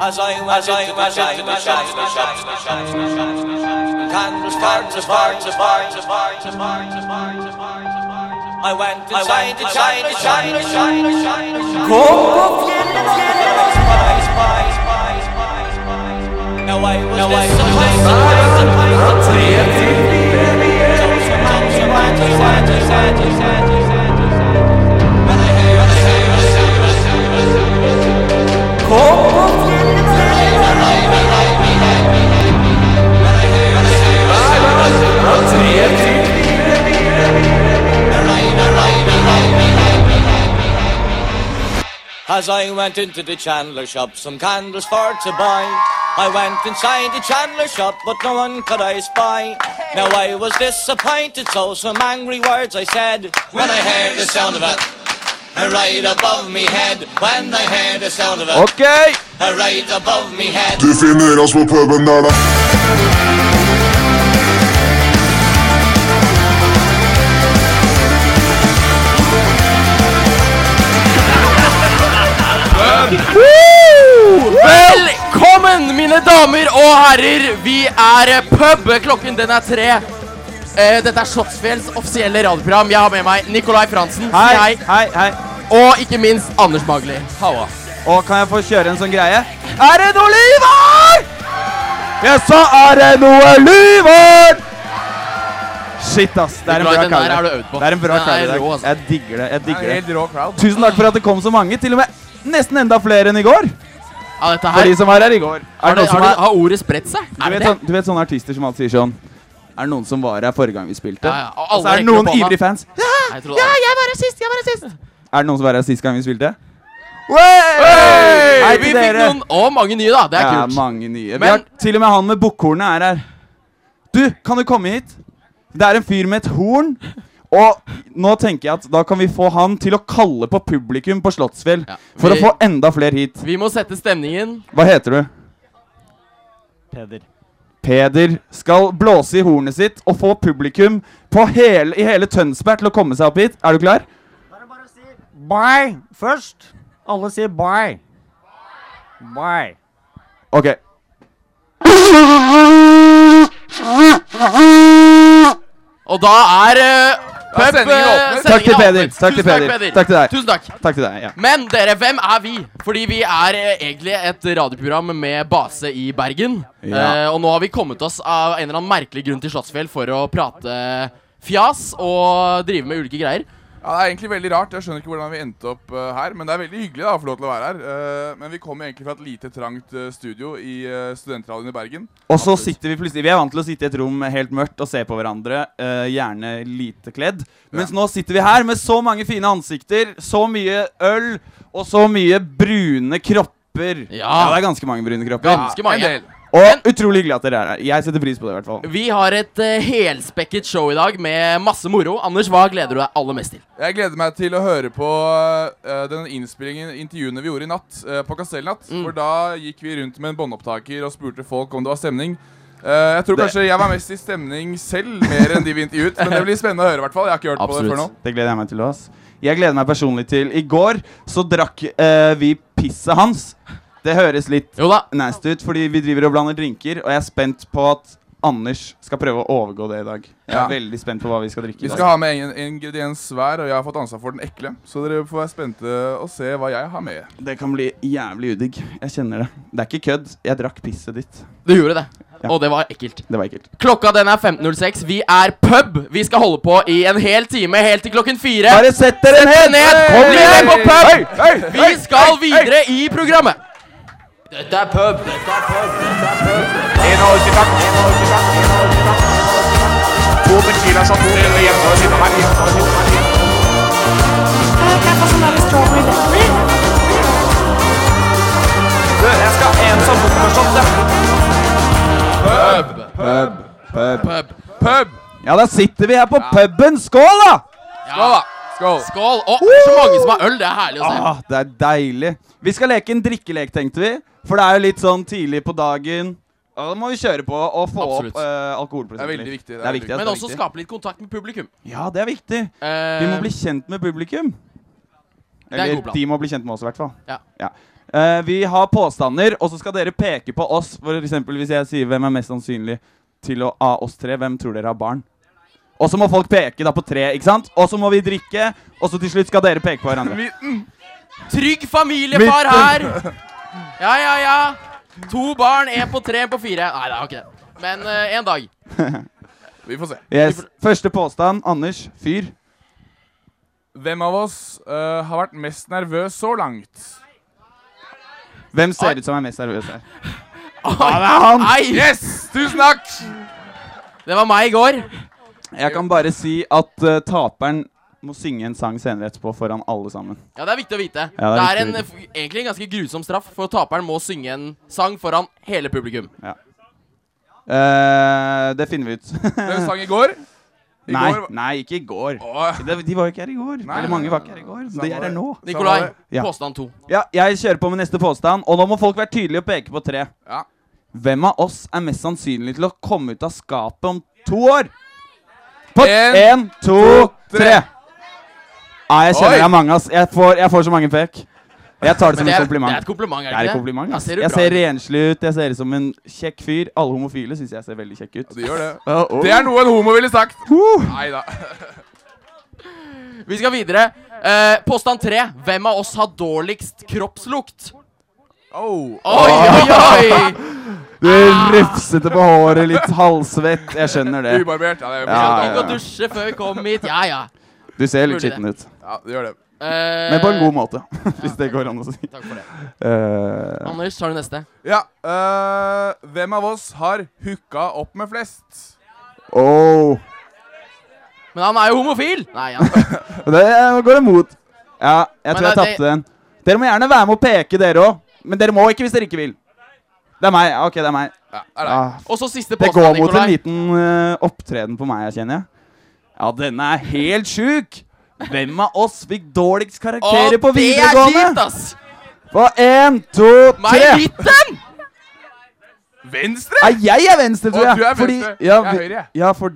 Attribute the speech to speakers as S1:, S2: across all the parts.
S1: As I went into the shine, the shine, the shine, the shine, the shine, the shine. Candles, candles, candles, candles, candles, candles, candles, candles. I went to shine, to shine, to shine, to shine, to shine, to shine. Kom på fjellet, fjellet, spice, spice, spice, spice, spice. Now I was disappointed, disappointed, As I went into the chandler shop, some candles for to buy. I went inside the chandler shop, but no one could I spy. Now I was disappointed, so some angry words I said. When I heard the sound of it, right above me head. When I heard the sound of it,
S2: Ok!
S1: right above me head.
S3: Du finner oss på puben der, da.
S2: Velkommen, mine damer og herrer. Vi er pub. Klokken den er tre. Eh, dette er Slottsfjells offisielle radioprogram. Jeg har med meg Nicolai Fransen.
S4: Hei,
S2: Jeg,
S4: hei, hei.
S2: og ikke minst Anders Magli. Halla.
S4: Og kan jeg få kjøre en sånn greie? Er det noe liv her? Ja, så er det noe liv her! Shit, ass. Det er en
S2: Nikolai,
S4: bra
S2: den der har du øvd på.
S4: Det er en bra
S2: Den er
S4: kalle i dag.
S2: rå, altså. ass.
S4: Jeg digger det. jeg digger det.
S5: rå crowd.
S4: Tusen takk for at det kom så mange. Til og med nesten enda flere enn i går.
S2: Ja, dette
S4: For
S2: her
S4: de som var her i går. Er
S2: har,
S4: det
S2: det, har,
S4: noen som
S2: det,
S4: er
S2: har ordet spredt seg?
S4: du
S2: Er det
S4: vet,
S2: det?
S4: sånn, du vet sånne artister som alltid sier sånn Er det noen som var her forrige gang vi spilte?
S2: Ja, ja, og
S4: Og så
S2: alle
S4: er det
S2: rekker opp
S4: noen
S2: hånda.
S4: ivrige fans. Ja,
S2: Nei, jeg trodde aldri.
S4: jeg var her sist! Jeg var her sist! Er det noen som var her sist gang vi spilte?
S2: Hey,
S4: Hei
S2: vi
S4: til
S2: fikk
S4: dere.
S2: noen Og mange nye, da. Det er
S4: Ja,
S2: kult.
S4: Eh, mange nye.
S2: Men-
S4: Vi har, til og med han med bukkhornet er her. Du, kan du komme hit? Det er en fyr med et horn. Og nå tenker jeg at da kan vi få han til å kalle på publikum på Slottsfjell.
S2: Ja,
S4: For å
S2: vi-
S4: få enda flere hit.
S2: Vi må sette stemningen.
S4: Hva heter du? Peder skal blåse i hornet sitt og få publikum på hele, i hele Tønsberg til å komme seg opp hit. Er du klar?
S5: Bye først. Alle sier bye. Bye.
S4: Ok.
S2: Og da er uh, pub,
S5: sendingen
S2: eh,
S5: åpnet.
S4: Takk til
S2: er
S4: Peder.
S2: åpnet.
S4: Takk til
S2: Tusen
S4: Peder. Takk til deg.
S2: Tusen takk.
S4: Takk til deg. ja.
S2: Men dere, hvem er vi? Fordi vi er eh, egentlig et radioprogram med base i Bergen.
S4: Ja.
S2: Eh, og nå har vi kommet oss av en eller annen merkelig grunn til Slottsfjell for å prate fjas og drive med ulike greier.
S6: Ja, Det er egentlig veldig rart. Jeg skjønner ikke hvordan vi endte opp eh, her. Men det er veldig hyggelig da, å få lov til å være her. Eh, men vi kommer egentlig fra et lite, trangt eh, studio i uh, Studentradioen i Bergen.
S4: Og så sitter vi plutselig Vi er vant til å sitte i et rom helt mørkt og se på hverandre, eh, gjerne lite kledd. Mens nå sitter vi her med så mange fine ansikter, så mye øl og så mye brune kropper.
S2: Ja.
S4: det er ganske mange brune kropper.
S2: Ganske mange.
S6: en del.
S4: Og utrolig hyggelig at dere er her. Jeg setter pris på det, i hvert fall.
S2: Vi har et eh, helspekket show i dag med masse moro. Anders, hva gleder du deg aller mest til?
S6: Jeg gleder meg til å høre på eh, den innspillingen, intervjuene vi gjorde i natt, eh, på Kastellnatt. For da gikk vi rundt med en båndopptaker og spurte folk om det var stemning. Eh, jeg tror
S4: Det-
S6: kanskje jeg var mest i stemning selv, mer enn de vi intervjuet. Men det blir spennende å høre, i hvert fall. Jeg har ikke hørt på det før nå.
S2: Absolutt.
S4: Det gleder jeg meg til. Ass. Jeg gleder meg personlig til I går så drakk eh, vi pisset hans. Det høres litt
S2: Jo da.
S4: nasty ut, fordi vi driver og blander drinker, og jeg er spent på at Anders skal prøve å overgå det i dag. Jeg er
S6: Ja.
S4: veldig spent på hva vi skal drikke. i
S6: Vi
S4: dag.
S6: skal ha med en ingrediens hver, og jeg har fått ansvar for den ekle. Så dere får være spente og se hva jeg har med.
S4: Det kan bli jævlig udigg. Jeg kjenner det. Det er ikke kødd. Jeg drakk pisset ditt.
S2: Du gjorde det.
S4: Ja.
S2: Og det var ekkelt.
S4: Det var ekkelt.
S2: Klokka den er 15.06. Vi er pub. Vi skal holde på i en hel time, helt til klokken fire.
S4: Bare sett dere ned!
S2: ned!
S4: Kom
S2: Bli
S4: igjen!
S2: med på pub!
S4: Hei, hei, hei,
S2: Vi skal
S4: hei, hei.
S2: videre i programmet.
S6: Pub!
S4: Ja, da sitter vi her på puben. Skål, da!
S2: Skål, da.
S6: Skål!
S2: Skål. Å, det er så mange som har øl. Det er herlig å se.
S4: Ah, det er deilig. Vi skal leke en drikkelek, tenkte vi. For det er jo litt sånn tidlig på dagen. Ja, Da må vi kjøre på og få
S2: Absolutt.
S4: opp uh, alkoholprosenten.
S6: Det er veldig
S4: litt.
S6: viktig, det er
S4: Det er
S6: veldig
S4: viktig. ass,
S2: Men
S4: det er
S2: også
S4: viktig.
S2: skape litt kontakt med publikum.
S4: Ja, det er viktig.
S2: Eh,
S4: Vi må bli kjent med publikum.
S2: er en
S4: Eller
S2: god plan.
S4: de må bli kjent med oss, i hvert fall.
S2: Ja.
S4: Eh, vi har påstander, og så skal dere peke på oss. For eksempel hvis jeg sier hvem er mest sannsynlig til å av oss tre, hvem tror dere har barn? Og så må folk peke da på tre, ikke sant? Og så må vi drikke, og så til slutt skal dere peke på hverandre.
S2: Trygg familiefar her. Ja, ja, ja. To barn, én på tre, én på fire. Nei, det er ikke det. Men eh, en dag.
S6: Vi får se.
S4: Yes. Første påstand. Anders, fyr.
S6: Hvem av oss eh, har vært mest nervøs så langt?
S4: Hvem ser ut som er mest nervøs her? Ja, Ah, det er han!
S2: Nei,
S6: Yes! Tusen takk!
S2: det var meg i går.
S4: Jeg kan bare si at eh, taperen må synge en sang senere etterpå foran alle sammen.
S2: Ja, Det er viktig å vite.
S4: Ja,
S2: det
S4: det
S2: er,
S4: er
S2: en,
S4: viktig å
S2: eh, f- egentlig en ganske grusom straff, for taperen må synge en sang foran hele publikum.
S4: Eh, det finner vi ut.
S6: Hvem sang i går? I
S4: nei,
S6: går-
S4: nei, ikke i går.
S6: Åh,
S4: De, de var jo ikke her i går.
S6: Nei.
S4: Eller mange var ikke her i går.
S6: Samme
S4: De er her
S6: det.
S4: nå.
S2: Nikolai,
S4: Ja.
S2: påstand to.
S4: Ja, jeg kjører på med neste påstand, og nå må folk være tydelige og peke på tre.
S6: Ja.
S4: Hvem av oss er mest sannsynlig til å komme ut av skapet om to år? På
S6: En,
S4: én, to,
S6: to,
S4: tre.
S6: tre.
S4: Nei, jeg kjenner
S6: Oi.
S4: det er mange, ass. Jeg får, jeg får så mange pek. Jeg tar
S2: Men
S4: det som
S2: det
S4: en
S2: er, det er
S4: kompliment.
S2: et kompliment,
S4: Det
S2: er
S4: er
S2: det
S4: et
S2: ikke det?
S4: kompliment,
S2: Da
S4: ass.
S2: ser du
S4: Jeg
S2: bra
S4: ser
S2: ut.
S4: renslig ut, jeg ser ut som en kjekk fyr. Alle homofile syns jeg ser veldig kjekk ut.
S6: de gjør det.
S4: Oh, oh.
S6: Det er noe en homo ville sagt. Nei da.
S2: Vi skal videre. Eh, påstand tre. Hvem av oss har dårligst kroppslukt?
S6: Oh.
S2: Oi, oi, oi!
S4: Du
S2: Ah.
S4: rufsete på håret, litt halvsvett. Jeg skjønner det.
S6: Ubarbert. Ja, det, er
S4: Ja,
S2: Gikk
S4: ja.
S2: og dusje før vi kom hit. Ja, ja.
S4: Du ser litt
S2: Burde det.
S4: skitten ut.
S6: ja, det gjør det.
S2: Eh,
S4: Men på en god måte, hvis det går an å si.
S2: Takk for det.
S4: Eh,
S2: Anders, tar du neste?
S6: Ja, øh, hvem av oss har hooka opp med flest?
S4: Åh
S2: Men han er jo homofil! Nei, ja.
S4: Det eh, går imot. Ja, jeg
S2: Men
S4: tror jeg
S2: det-
S4: tapte den. Dere må gjerne være med å peke, dere òg. Men dere må ikke hvis dere ikke vil. Det er meg. Ok, det er meg.
S6: Ja, er det.
S4: Ah,
S2: Og så siste
S4: det går
S2: påstand,
S4: mot en
S2: Nikolai.
S4: liten eh, opptreden på meg, kjenner jeg. Ja, denne er helt sjuk! Hvem av oss fikk dårligst
S2: Å,
S4: karakterer på
S2: det er kjipt,
S4: videregående?
S2: ass!
S4: På én, to,
S2: Meg i
S4: tre.
S2: midten!
S6: Venstre?
S4: Nei, jeg er venstre, tror
S6: Å,
S4: jeg.
S6: du er
S4: Fordi,
S6: venstre.
S4: ja,
S6: Jeg er
S4: vi-
S6: høyre, jeg.
S4: Ja, for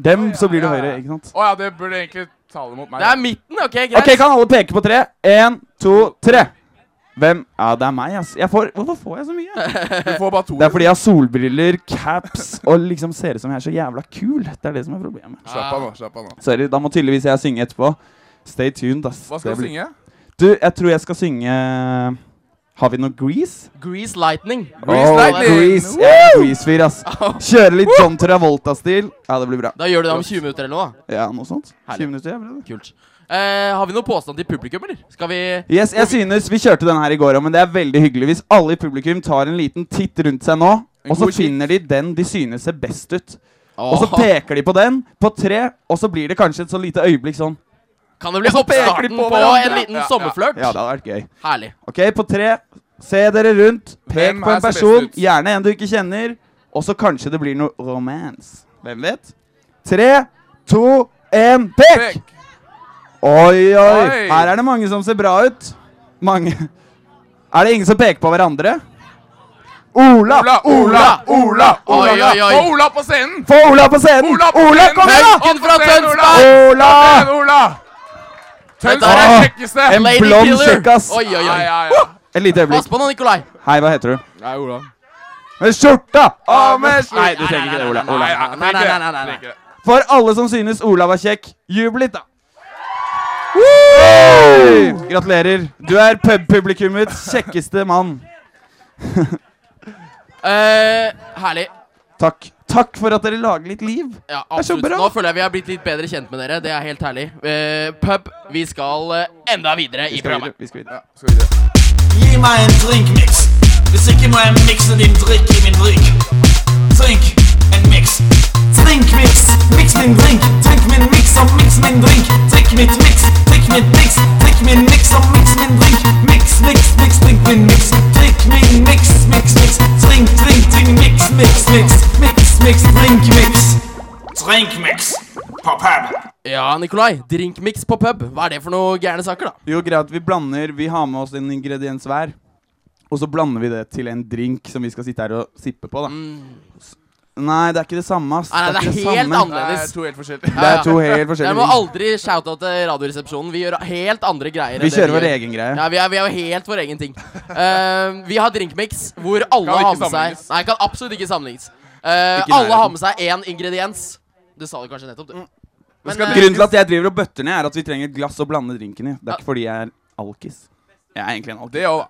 S4: dem
S6: Å, ja,
S4: så blir det
S6: ja, ja.
S4: høyre, ikke sant?
S6: Å ja, det burde egentlig tale mot meg.
S2: Det er midten, OK? Greit.
S4: Ok, kan alle peke på tre? En, to, tre. Hvem? Ja, det er meg, ass. Jeg får, hvorfor får jeg så mye?
S6: Du får bare to.
S4: Det er fordi jeg har solbriller, caps og liksom ser ut som jeg er så jævla kul. Det er det som er problemet.
S6: Slapp av nå. slapp av nå.
S4: Sorry, da må tydeligvis jeg synge etterpå. Stay tuned, ass.
S6: Hva skal
S4: Det
S6: du
S4: blir-
S6: synge?
S4: Du, jeg tror jeg skal synge eh, Har vi noe Grease?
S2: Grease Lightning.
S6: Grease
S4: Åh,
S6: Lightning!
S4: Grease. Jeg er Grease-fyr, ass. Kjøre litt John Travolta-stil. Ja, det blir bra.
S2: Da gjør du det om 20 minutter eller noe. da.
S4: Ja, noe sånt.
S2: Herlig.
S4: 20 minutter, jeg det.
S2: Kult. Eh, har vi noen påstand til publikum, eller? Skal vi
S4: Yes, jeg synes Vi kjørte den her i går òg, men det er veldig hyggelig hvis alle i publikum tar en liten titt rundt seg nå,
S6: En
S4: og så
S6: god Ah. kikk.
S4: finner de den de synes ser best ut.
S2: Åh,
S4: Og så peker de på den, på tre, og så blir det kanskje et så lite øyeblikk sånn.
S2: Kan det bli
S4: peker de
S2: oppstarten
S4: på
S2: på, en
S4: hverandre.
S2: liten
S6: Ja, ja.
S2: sommerflørt?
S4: Ja, det hadde vært gøy.
S2: Herlig.
S4: Ok, på tre. Se dere rundt. Pek
S6: Hvem
S4: på
S6: er
S4: en
S6: som best
S4: person,
S6: ut?
S4: gjerne en du ikke kjenner, og så kanskje det blir noe romance. Hvem vet? Tre, to, én, pek!
S6: Pek.
S4: Oi, oi.
S6: Oi.
S4: Her er det mange som ser bra ut. Mange. Er det ingen som peker på hverandre? Ola!
S6: Ola, Ola, Ola! Ola,
S2: Oi, oi, oi.
S6: Få Ola på scenen!
S4: Få Ola på scenen! Ola,
S6: på scenen!
S4: kom igjen, da!
S6: Opp
S2: Inn fra
S6: på scenen, Ola!
S2: Tønsberg!
S4: Ola!
S6: Opp på scenen, Ola! Tønsberg er
S4: Åh,
S6: kjekkeste!
S4: En
S2: Lady
S4: blond
S2: killer.
S4: kjekkass.
S2: Oi, oi,
S6: Ja,
S2: oi.
S6: ja, ja.
S4: Et lite
S2: Pass
S4: øyeblikk.
S2: på nå, Nikolai.
S4: Hei, hva heter du?
S6: Nei, Ola.
S4: Med skjorta!
S6: Av med
S4: Nei,
S6: slutt!
S4: du trenger ikke det, Ola.
S6: Nei,
S4: Ola.
S6: nei, nei, nei, nei, nei, nei.
S4: For alle som synes Ola var kjekk, jubel litt, da. Hey! Gratulerer. Du er pubpublikummets kjekkeste mann.
S2: Eh, herlig.
S4: Takk. Takk for at dere lager litt liv.
S2: Ja,
S4: er så
S2: absolutt.
S4: bra.
S2: Nå føler jeg vi har blitt litt bedre kjent med dere. Det er helt herlig. Eh, pub, vi skal eh, enda videre i
S4: Vi skal
S2: programmet.
S4: videre. Vi skal videre.
S6: Skal vi se.
S1: Gi meg en drinkmix. Hvis ikke må jeg mikse din drikk i min drikk. Drink en mix. Drinkmix. Mix min drink. Drikk min mix og mix min drink. Drikk mitt mix. Drikk mitt mix. Drikk min mix og mix min drink. Mix, mix, mix. Drikk min mix. Drikk min mix, mix, mix. Drink, drink, drink. Mix, mix, mix. Mix, mix. Drink, mix. Drinkmix på pub.
S2: Ja, Nikolai. Drinkmix på pub. Hva er det for noe gærne saker, da?
S4: Jo, greit. Vi blander Vi har med oss en ingrediens hver. Og så blander vi det til en drink som vi skal sitte her og sippe på. da S- Nei, det er ikke det samme. ass.
S2: Mm. Nei, nei, det
S4: ikke
S2: er helt
S4: samme.
S6: Det er
S2: annerledes.
S6: to helt forskjellige.
S4: Det er to helt
S2: Dere
S4: forskjellige
S2: må
S4: ting.
S2: aldri shoute out til Radioresepsjonen. Vi gjør helt andre greier. enn
S4: Vi
S2: det
S4: kjører vår
S2: gjør.
S4: egen greie.
S2: Ja, vi er, vi er jo helt vår egen ting. Eh, vi har drinkmix hvor alle
S6: ikke
S2: har med seg
S6: sammenlignes.
S2: Nei, kan absolutt ikke sammenlignes. Eh,
S4: Ikke i
S2: alle har
S4: nærheten. Mm.
S2: med seg én ingrediens. Du sa det kanskje nettopp, du. Men, eh,
S4: Grunnen til at jeg driver og bøtter ned, er at vi trenger et glass å blande drinken i. Det er ikke fordi jeg er alkis. Jeg er egentlig en alkis.
S6: Det òg, da.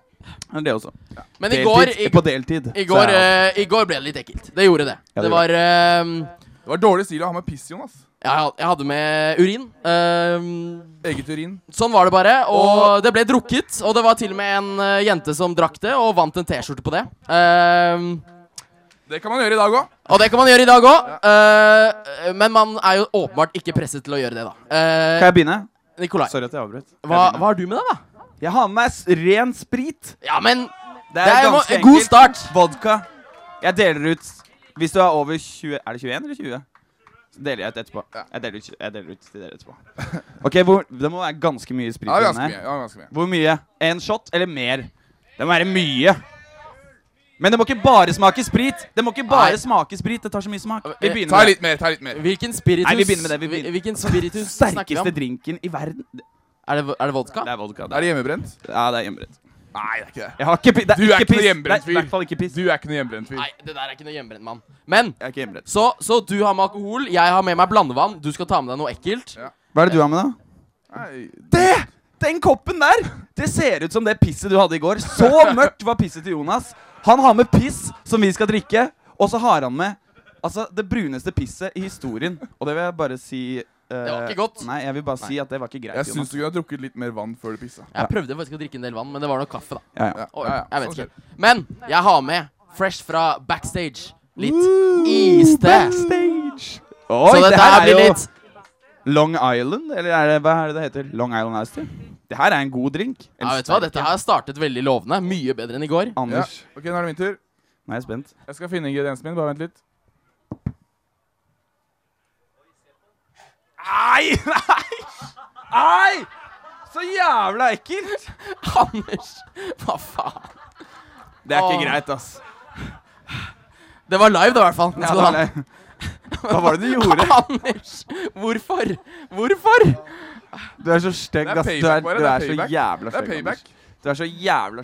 S4: Men Det også.
S2: men i går,
S4: Deltid.
S2: i,
S4: På deltid.
S2: i, går,
S4: Så jeg-
S2: eh, I går ble det litt ekkelt. Det gjorde det.
S4: Ja, det
S2: det var eh,
S6: Det var dårlig stil å ha med piss, Jonas.
S2: ja, jeg had- Jeg hadde med urin. Eh,
S6: Eget urin.
S2: Sånn var det bare, og,
S6: Og-
S2: det ble drukket. Og det var til og med en eh, jente som drakk det, og vant en T-skjorte på det. Ehm,
S6: Det kan man gjøre i dag òg.
S2: og det kan man gjøre i dag òg, men man er jo åpenbart ikke presset til å gjøre det, da. Eh,
S4: Kan jeg begynne?
S2: Nikolai,
S4: Sorry at jeg avbrøt. Kan jeg
S2: hva, hva
S4: begynne?
S2: har du med deg, da?
S4: Jeg har med meg s- ren sprit.
S2: Ja, men
S4: Det
S2: Det er jo
S4: ganske
S2: en god
S4: enkelt.
S2: start.
S4: Vodka. Jeg deler ut Hvis du er over 20 Er det 21 eller 20? Så deler jeg ut etterpå. Jeg deler ut, jeg deler ut til dere etterpå. Ok, hvor, Det må være ganske mye sprit
S6: Ja,
S4: i
S6: ganske
S4: den
S6: mye.
S4: her.
S6: Ja, ganske mye.
S4: Hvor mye? En shot eller mer? Det må være mye. Men det må ikke bare smake sprit. Det må ikke bare
S2: Nei.
S4: smake sprit. Det tar så mye smak. Vi
S2: Eh,
S4: begynner
S6: Ta
S4: med det.
S6: litt mer. ta litt mer
S2: hvilken spiritus
S4: Nei, vi begynner med det, vi
S2: hvil-
S4: begynner.
S2: Hvilken spiritus snakker vi om?
S4: sterkeste drinken i verden. Det
S2: Er det, er det vodka?
S4: er vodka. Det
S6: Er
S4: er,
S6: det hjemmebrent?
S4: ja, det er hjemmebrent.
S6: Nei, det er ikke det.
S4: Jeg har ikke pi- Det
S6: Du er ikke
S4: piss.
S6: noe
S4: Det er
S6: hjemmebrent
S4: i
S6: fyr.
S4: hvert fall ikke piss.
S6: Du er ikke noe hjemmebrent fyr.
S2: Nei, det der er ikke noe hjemmebrent, mann. Men
S4: Jeg er ikke hjemmebrent.
S2: så, så du har med alkohol, jeg har med meg blandevann. Du skal ta med deg noe ekkelt.
S6: Ja.
S4: Hva er det du har med, da?
S6: Nei.
S4: Det! Den koppen der! Det ser ut som det pisset du hadde i går. Så mørkt var pisset til Jonas. Han har med piss som vi skal drikke, og så har han med altså, det bruneste pisset i historien. Og det vil jeg bare si Det
S2: var ikke godt.
S4: Nei, jeg vil bare si at det var ikke greit.
S6: Jeg syns
S4: Jonas.
S6: du kunne ha drukket litt mer vann før du pissa.
S2: Jeg prøvde faktisk å drikke en del vann, men det var nok kaffe, da.
S4: Ja, ja.
S2: Oi,
S6: Ja, ja,
S2: jeg vet
S6: sånn
S2: ikke. Men jeg har med Fresh fra backstage. Litt iste. Så
S4: Backstage. Oi, det
S2: dette
S4: her
S2: her
S4: er
S2: blir
S4: jo
S2: litt
S4: Long Island, eller er det, hva er det det heter? Long Island Ice Tea. Det her er en god drink. En
S2: ja, vet du hva,
S4: sterk
S2: Dette
S4: en.
S2: har startet veldig lovende. Mye bedre enn i går.
S6: Ja.
S4: Anders,
S6: Ok, Nå er det min tur.
S4: nå er jeg spent.
S6: Jeg skal finne ingrediensen min. Bare vent litt.
S4: Nei, nei! Nei! Så jævla ekkelt!
S2: Anders, hva faen?
S4: Det er
S2: Åh.
S4: ikke greit, ass.
S2: Det var live, da, i hvert fall.
S4: Ja, da,
S2: Skal
S4: nei. Hva var det du
S2: du
S4: gjorde?
S2: ha- Anders, hvorfor? Hvorfor?
S4: Du er så stygg,
S6: Det er
S4: ass. Du er,
S6: payback, bare.
S4: du er
S6: Det er
S4: så
S6: payback.
S4: jævla
S6: Det er
S4: stygg. Anders.
S6: payback.
S4: Du er så jævla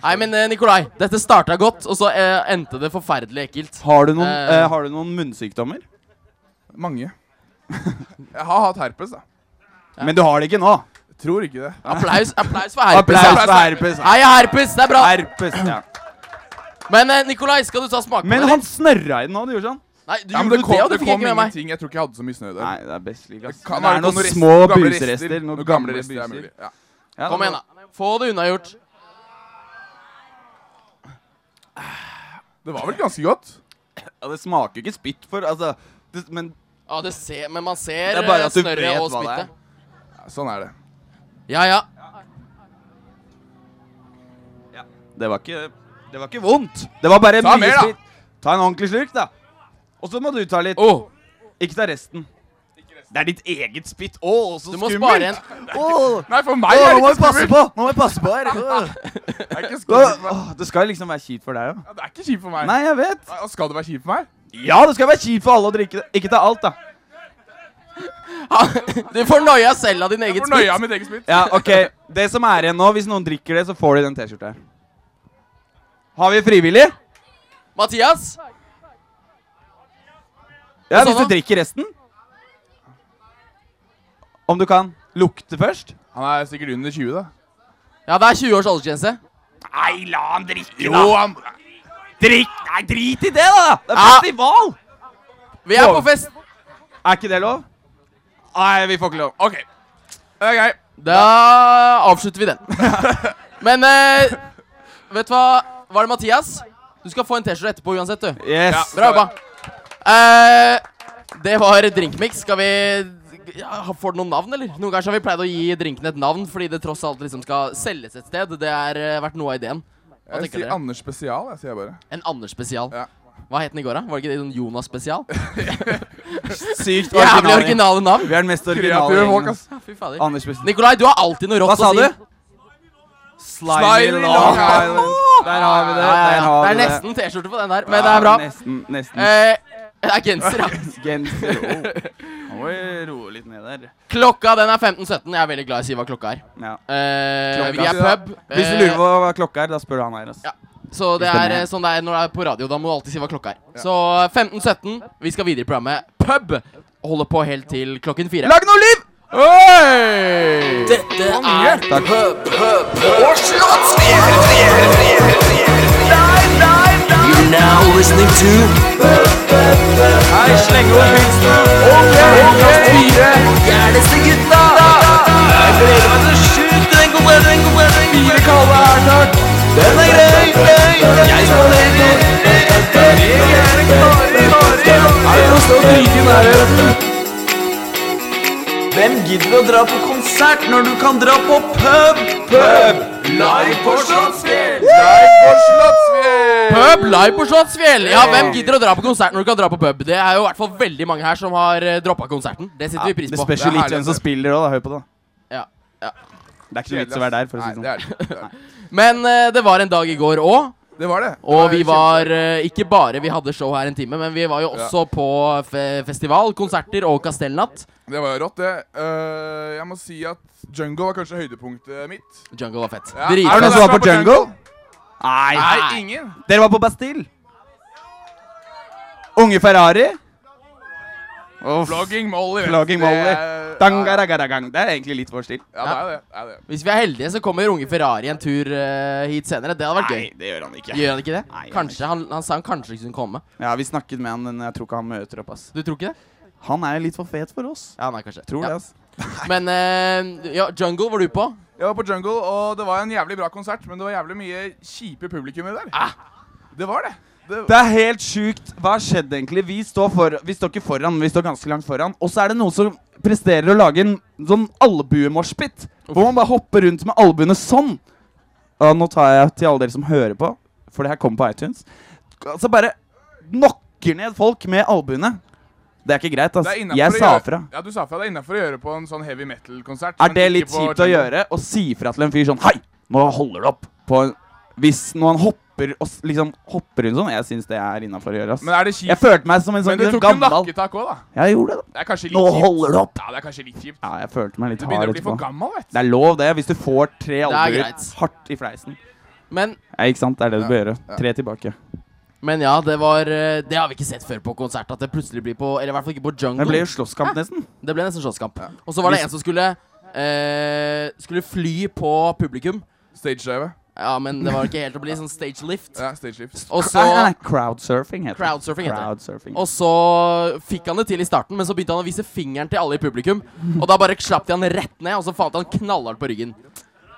S2: Nei,
S4: stygg.
S2: men eh, Nikolai, dette starta godt, og så eh, endte det forferdelig ekkelt.
S4: Har du noen,
S2: Eh.
S4: eh, har du noen munnsykdommer?
S6: Mange. Jeg har hatt herpes, da.
S4: Men du har det ikke nå.
S6: Tror ikke det.
S2: Applaus, applaus for herpes.
S4: Applaus
S2: da.
S4: for herpes.
S2: Hei, herpes, det er bra.
S4: Herpes, ja.
S2: Men eh, Nikolai, skal du ta smake på
S4: Men
S2: det?
S4: han snørra i den òg, du gjorde sånn.
S2: Nei, du
S6: Ja,
S2: gjorde
S6: men det
S2: jo
S6: kom,
S2: det, og det
S6: det
S2: fikk jeg
S6: kom
S2: ikke med meg.
S6: ingenting. Jeg tror ikke jeg hadde så mye snø der.
S4: Nei, det er best slik, ass.
S6: Det kan
S4: det
S6: være
S4: er noen
S6: rester,
S4: små
S6: gamle
S4: buserester. Noen gamle buser.
S6: er mulig. Ja.
S4: Ja,
S2: Kom
S4: det
S2: igjen,
S4: var-
S2: da. Få det unnagjort.
S6: Det var vel ganske godt?
S4: Ja, det smaker ikke spytt for altså, det, Men
S2: Ja, det ser, men man ser
S4: Det er bare
S2: eh,
S4: at du
S2: snørret
S4: vet
S2: og
S4: hva det er.
S2: spyttet.
S6: Ja, sånn er det.
S2: Ja, ja.
S4: det var ikke Det var ikke vondt. Det var bare
S6: Ta
S4: mye
S6: mer, da.
S4: spytt. Ta en ordentlig slurk, da. Og så må du ta litt.
S2: Oh,
S4: Ikke ta resten. Det er ditt eget spytt. Å, så
S2: du
S4: skummelt!
S2: må spare en
S4: Åh,
S6: Nei, for meg er
S4: nå må
S6: det
S4: vi
S6: ikke
S4: passe
S6: skummelt.
S4: på! Nå må vi passe på her. Åh.
S6: Det er ikke skummelt for meg.
S4: Åh, Det skal liksom være kjipt for deg òg.
S6: Ja, Det er ikke kjipt for meg.
S4: Nei, jeg vet.
S6: Nei, og Skal det være kjipt for meg?
S4: Ja, det skal være kjipt for alle å drikke det. Ikke ta alt, da.
S2: Du får noia selv av din
S6: Jeg
S2: eget
S6: får nøye
S2: spytt.
S6: av mitt eget spytt.
S4: Ja, ok. Det som er igjen nå, hvis noen drikker det, så får de den T-skjorta her. Har vi frivillig?
S2: Mathias?
S4: Ja,
S2: Hva sa
S4: hvis
S2: du?
S4: du drikker resten. Om du kan lukte først.
S6: Han er sikkert under 20, da.
S2: Ja, det er 20 års aldersgrense.
S4: Nei, la han drikke,
S6: Jo, han
S4: Drikk! Nei, drit i det, da! Det er
S2: Ja.
S4: festival!
S2: Vi er på
S4: Wow.
S2: fest.
S4: Er ikke det lov? Nei, vi får ikke lov.
S6: OK. Ok.
S2: Da avslutter vi den. Men eh, vet du hva? Var det Mathias? Du skal få en T-skjorte etterpå uansett, du.
S4: Yes.
S6: Ja.
S2: Bra jobba. Eh, det var drinkmix. Skal vi ja, Får det noen navn, eller? Noen ganger så har vi pleid å gi drinken et navn, fordi det tross alt liksom skal selges et sted. Det har eh, vært noe av ideen. Hva
S6: Jeg
S2: tenker
S6: sier
S2: dere?
S6: Anders Spesial, jeg sier jeg bare.
S2: En Anders spesial.
S6: Ja.
S2: Hva het den i går, da? Var det ikke det sånn Jonas spesial? Jævlig
S4: Sykt original. gjeng.
S2: originale navn.
S4: Vi er den mest originale
S6: Kreative folk,
S4: gjengen.
S6: ass.
S2: Ja, fy fader.
S4: Anders Best-
S2: Nikolai, du har alltid noe
S4: Hva
S2: rått å
S4: sa
S2: si.
S4: du?
S6: Slimy Long Island.
S4: Der har vi det.
S2: Ja, ja,
S4: Der
S2: ja.
S4: har
S2: Det er
S4: vi
S2: nesten T-skjorte på den der, men det er bra.
S4: Nesten, nesten.
S2: Eh, Det er genser, ja.
S4: Genser oh. Må vi roe litt ned der.
S2: Klokka den er 15.17. Jeg er veldig glad i å si hva klokka er.
S4: Ja.
S2: Eh, vi er
S4: Ja.
S2: pub.
S4: Hvis du
S2: eh,
S4: lurer på hva klokka er, da spør du han her. altså. ass.
S2: ja. Så det
S4: Stemmer.
S2: er eh, sånn det er når det er på radio. Da må du alltid si hva klokka er. Så 15.17. Vi skal videre i programmet Pub. Holder på helt til klokken fire.
S4: Lag noe liv!
S1: Dette
S4: er Takk.
S1: You're now listening to
S4: Hei, sleng over pilsen.
S1: Gærneste gutta! Jeg gleder meg til å skyte den gode, den gode, den gode Fire kalde her, takk! Den er grei, grei! Jeg spallerer! Hvem gidder å dra på konsert når du kan dra på pub? Pub! Live på Slottsfjell!
S2: Pub live på Slottsfjell! Ja, hvem gidder å dra på konsert når du kan dra på pub? Det er jo i hvert fall veldig mange her som har droppa konserten. Det altså. setter vi pris
S4: Det
S2: på.
S4: spørs jo litt hvem som spiller òg, da. Hør på det. da.
S2: Ja, ja.
S4: Det er ikke noe vits å være der, for å si det sånn.
S6: sånn.
S2: Men eh, det var en dag i går òg,
S6: Det var det. Det
S2: og vi
S6: kjempe-
S2: var eh, ikke bare Vi hadde show her en time, men vi var jo også på fe festival, konserter og Kastellnatt.
S6: Det var jo rått, det. Eh, jeg må si at Jungle var kanskje høydepunktet mitt.
S2: Jungle var fett.
S6: Ja,
S2: Drit.
S4: Er
S6: er
S4: det
S6: det
S4: noen som var
S6: som
S4: på Jungle? Nei.
S6: Nei, ingen.
S4: Dere var på Bastille? Unge Ferrari? Uff.
S6: Flogging Molly. vet du.
S4: Flogging
S6: Det er-
S4: Molly.
S6: Ja,
S4: Dangaragaragang. Det er egentlig litt vår stil.
S6: ja, det er det. det, er det.
S2: Hvis vi er heldige, så kommer unge Ferrari en tur eh, hit senere. Det hadde vært
S4: Nei,
S2: gøy.
S4: det gjør han ikke.
S2: Gjør han ikke det?
S4: Nei, jeg vet
S2: Kanskje, han, han sa han kanskje ikke skulle komme.
S4: Ja, Vi snakket med han, men jeg tror ikke han møter opp. ass
S2: Du tror ikke det?
S4: Han er jo litt for fet for oss.
S2: Ja, nei, kanskje.
S4: Tror
S2: ja.
S4: det, altså. ass.
S2: Men eh, ja, Jungle var du på.
S6: Jeg var på Jungle, og det var en jævlig bra konsert, men det var jævlig mye kjipe publikummere der. Det var det. det,
S4: Ah. Det er helt sjukt. Hva har skjedd, egentlig? Vi står, for, vi står ikke foran, vi står ganske langt foran. Og så er det noen som presterer å lage en sånn albuemoshpit. Hvor man bare hopper rundt med albuene sånn. Og nå tar jeg til alle dere som hører på, for det her kommer på iTunes. Så bare knocker ned folk med albuene. Det er ikke greit, ass.
S6: Det er innenfor å
S4: Jeg sa
S6: gjøre-
S4: fra.
S6: Ja, du sa fra. Det er innafor å gjøre på en sånn heavy metal-konsert.
S4: Er
S6: men
S4: det
S6: ikke
S4: litt
S6: på
S4: kjipt å
S6: Jungle.
S4: gjøre? Å si fra til en fyr sånn Hei, nå holder det opp. På en, hvis når han hopper og s- liksom hopper rundt sånn. Jeg syns det er innafor å gjøre, ass.
S6: Men er det kjipt?
S4: Jeg følte meg som en sånn
S6: men du tok jo
S4: gammel
S6: nakketak òg, da.
S4: Jeg gjorde det. da.
S6: Det er kanskje litt
S4: Nå
S6: kjipt.
S4: holder det opp.
S6: Ja, det er kanskje litt kjipt.
S4: Ja, jeg følte meg litt
S6: Du
S4: hard
S6: begynner å bli
S4: etterpå.
S6: for gammel, vet du.
S4: Det er lov, det, hvis du får tre
S2: er
S4: albuer
S2: greit.
S4: hardt i fleisen.
S2: Men
S4: Ja, ikke sant? Det er det du bør gjøre. Tre tilbake.
S2: Men ja, det var eh, Det har vi ikke sett før på konsert. At det plutselig blir på Eller i hvert fall ikke på Jungle.
S4: Det ble jo slåsskamp, nesten.
S2: Det ble nesten slåsskamp. Og så var det
S4: Hvis-
S2: en som skulle eh, Skulle fly på publikum.
S6: Stage-dive.
S2: Ja, men det var ikke helt å bli sånn stage lift.
S6: Ja, stage-lift.
S2: Og så
S4: Nei, nei, nei, crowdsurfing heter det.
S2: Crowdsurfing heter det.
S4: Crowdsurfing.
S2: og så fikk han det til i starten, men så begynte han å vise fingeren til alle i publikum. Og da bare slapp de han rett ned, og så fant han knallhardt på ryggen.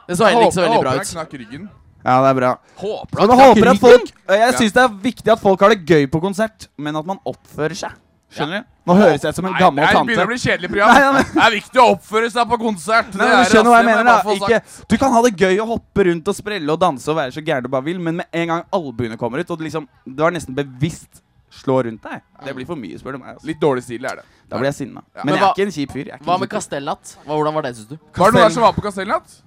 S2: Det så heller ikke så veldig bra
S6: jeg
S2: ut.
S6: knakk ryggen.
S4: Ja, det er bra.
S2: Håper
S4: Men
S2: han
S4: jeg håper
S2: knakk
S4: at folk
S2: ryggen?
S4: og Jeg syns det er viktig at folk har det gøy på konsert, men at man oppfører seg. Skjønner du? Nå høres jeg ut som en
S6: Nei,
S4: gammel
S6: nei, det
S4: tante.
S6: begynner å bli kjedelig program.
S4: Nei, ja, men-
S6: Det er viktig å oppføre seg på konsert.
S4: Nei,
S6: det
S4: men
S6: er
S4: du skjønner hva jeg
S6: det må
S4: mener da
S6: bare få
S4: ikke,
S6: sagt.
S4: Du kan ha det gøy å hoppe rundt og sprelle og danse og være så gæren du bare vil, men med en gang albuene kommer ut, og du liksom Du har nesten bevisst slå rundt deg. Det blir for mye, spør du meg. Altså.
S6: Litt dårlig stil er det.
S4: Da blir jeg sinna. Men
S2: Men
S4: jeg er
S2: hva-
S4: ikke en kjip fyr. Jeg er ikke
S2: Hva
S4: en
S2: med
S4: kjip fyr.
S2: Kastellnatt? Hva- Hvordan var det, syns du?
S6: Var det noen her som var på Kastellnatt?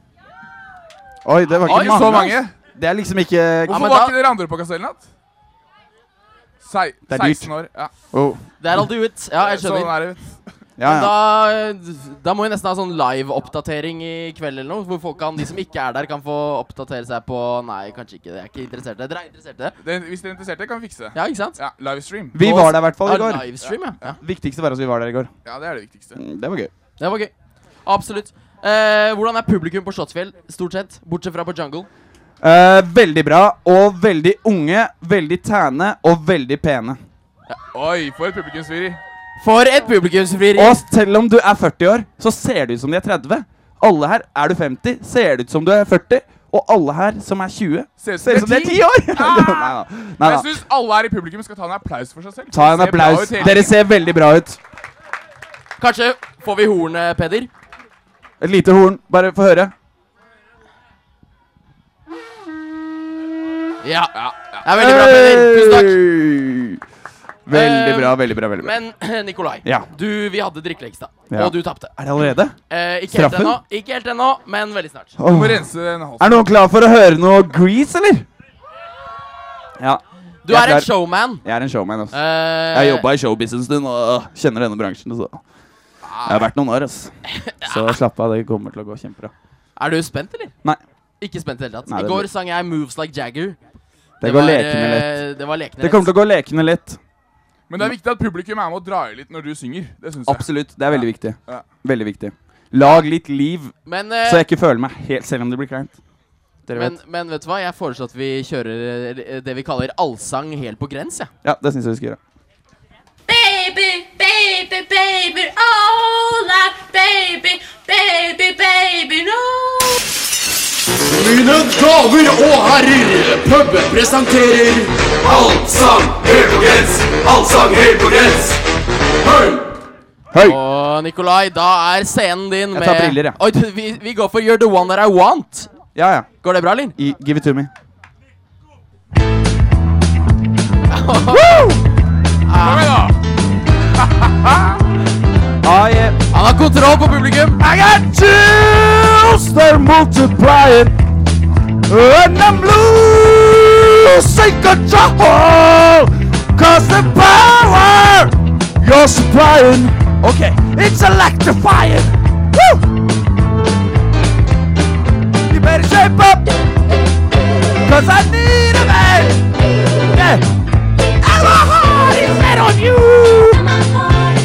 S4: Oi, det var
S6: Oi,
S4: ikke mange.
S6: så mange.
S4: ass. Det er liksom ikke
S6: Hvorfor
S2: men
S6: var
S2: da-
S6: ikke dere andre på Kastellnatt? Sei,
S4: Det er dyrt.
S6: 16 år. Ja,
S4: oh.
S2: Det er all do it. Ja, jeg skjønner.
S6: Sånn er det.
S4: Ja, ja.
S2: Da, da må vi nesten ha sånn live-oppdatering i kveld eller noe. Hvor folk kan, de som ikke er der, kan få oppdatere seg på Nei, kanskje ikke. Jeg er ikke interessert i det. Dere er interessert i det?
S6: Det, hvis dere er interessert, kan vi fikse det.
S2: Ja, ikke sant?
S6: Ja, Livestream.
S4: Vi var der i hvert fall i
S2: Ja,
S4: går.
S2: livestream, ja. ja.
S4: Viktigste var at vi var der i går.
S6: Ja, det er det viktigste.
S4: Mm, Det var gøy.
S2: Det var gøy. Absolutt. Eh, hvordan er publikum på Slottsfjell, stort sett? Bortsett fra på Jungle.
S4: Eh, veldig bra og veldig unge, veldig tæne og veldig pene.
S6: Oi, for et publikumsfyri.
S2: For et publikumsfrieri!
S4: Og selv om du er 40 år, så ser det ut som de er 30. Alle her er du 50, ser det ut som du er 40. Og alle her som er 20,
S6: Ser ut som
S4: ser ut som de er 10 år! Nei da. Nei,
S6: Jeg
S4: da.
S6: syns alle her i publikum skal ta en applaus for seg selv.
S4: Ta en
S6: Det ser bra
S4: applaus.
S6: ut hele
S4: Dere
S6: tiden.
S4: ser veldig bra ut.
S2: Kanskje får vi hornet, Peder?
S4: Et lite horn. Bare få høre.
S2: Ja.
S6: Ja,
S2: Det
S6: ja.
S2: er veldig bra, Peder. Tusen takk.
S4: Hey! Veldig bra, veldig bra. veldig bra
S2: Men Nikolai,
S4: Ja.
S2: du, vi hadde drikkeleks, da.
S4: Ja.
S2: Og du tapte.
S4: Er det allerede?
S2: Eh, ikke helt
S4: Straffen?
S2: ennå, Ikke helt ennå, men veldig snart.
S6: Du
S4: Åh.
S6: må rense den halsen.
S4: Er noen klar for å høre noe Grease, eller? Ja.
S2: Du er
S4: Jeg er
S2: en
S4: klar.
S2: showman.
S4: Jeg er en showman, altså. ass.
S2: Eh,
S4: Jeg jobba i showbiz en stund og øh, kjenner denne bransjen. Så. Jeg har vært noen år, ass. Så slapp av, det kommer til å gå kjempebra.
S2: Er du spent, eller?
S4: Nei,
S2: Ikke spent i det hele tatt.
S4: Nei,
S2: I
S4: det-
S2: går sang jeg 'Moves Like Jagger'.
S4: det, går
S2: var,
S4: lekende lett.
S2: eh, Det var lekende
S4: Det kommer til å gå lekende lett.
S6: Men det er viktig at publikum er med og drar i litt når du synger. Det synes jeg.
S4: Absolutt. Det er veldig viktig.
S6: Ja.
S4: Veldig viktig. Lag litt liv,
S2: Men, eh,
S4: så jeg ikke føler meg helt Selv om det blir kleint. Dere
S2: men,
S4: vet.
S2: men vet du hva? Jeg foreslår at vi kjører eh, det vi kaller allsang helt på grens. Ja.
S4: Ja, det syns jeg vi skal gjøre.
S7: Baby, baby, baby, oh, that baby, baby, baby, no.
S8: Mine damer og herrer, puben presenterer Allsang helt på grens! Allsang helt på grens! Høy!
S2: Og Nikolai, da er scenen din
S4: Jeg
S2: med
S4: tar briller, jeg.
S2: Oi, du, vi, vi går for 'You're the one that I want'.
S4: Ja, ja.
S2: Går det bra, Linn?
S4: I, give it to me.
S2: Ah.
S6: Kom igjen, da!
S4: I am
S2: Han har kontroll på publikum.
S4: I got chills, they're multiplying. And I'm losing control. Cause the power you're supplying, okay, it's electrifying. Woo! You better shape up. Cause I need a man. Yeah. And my heart is set on you.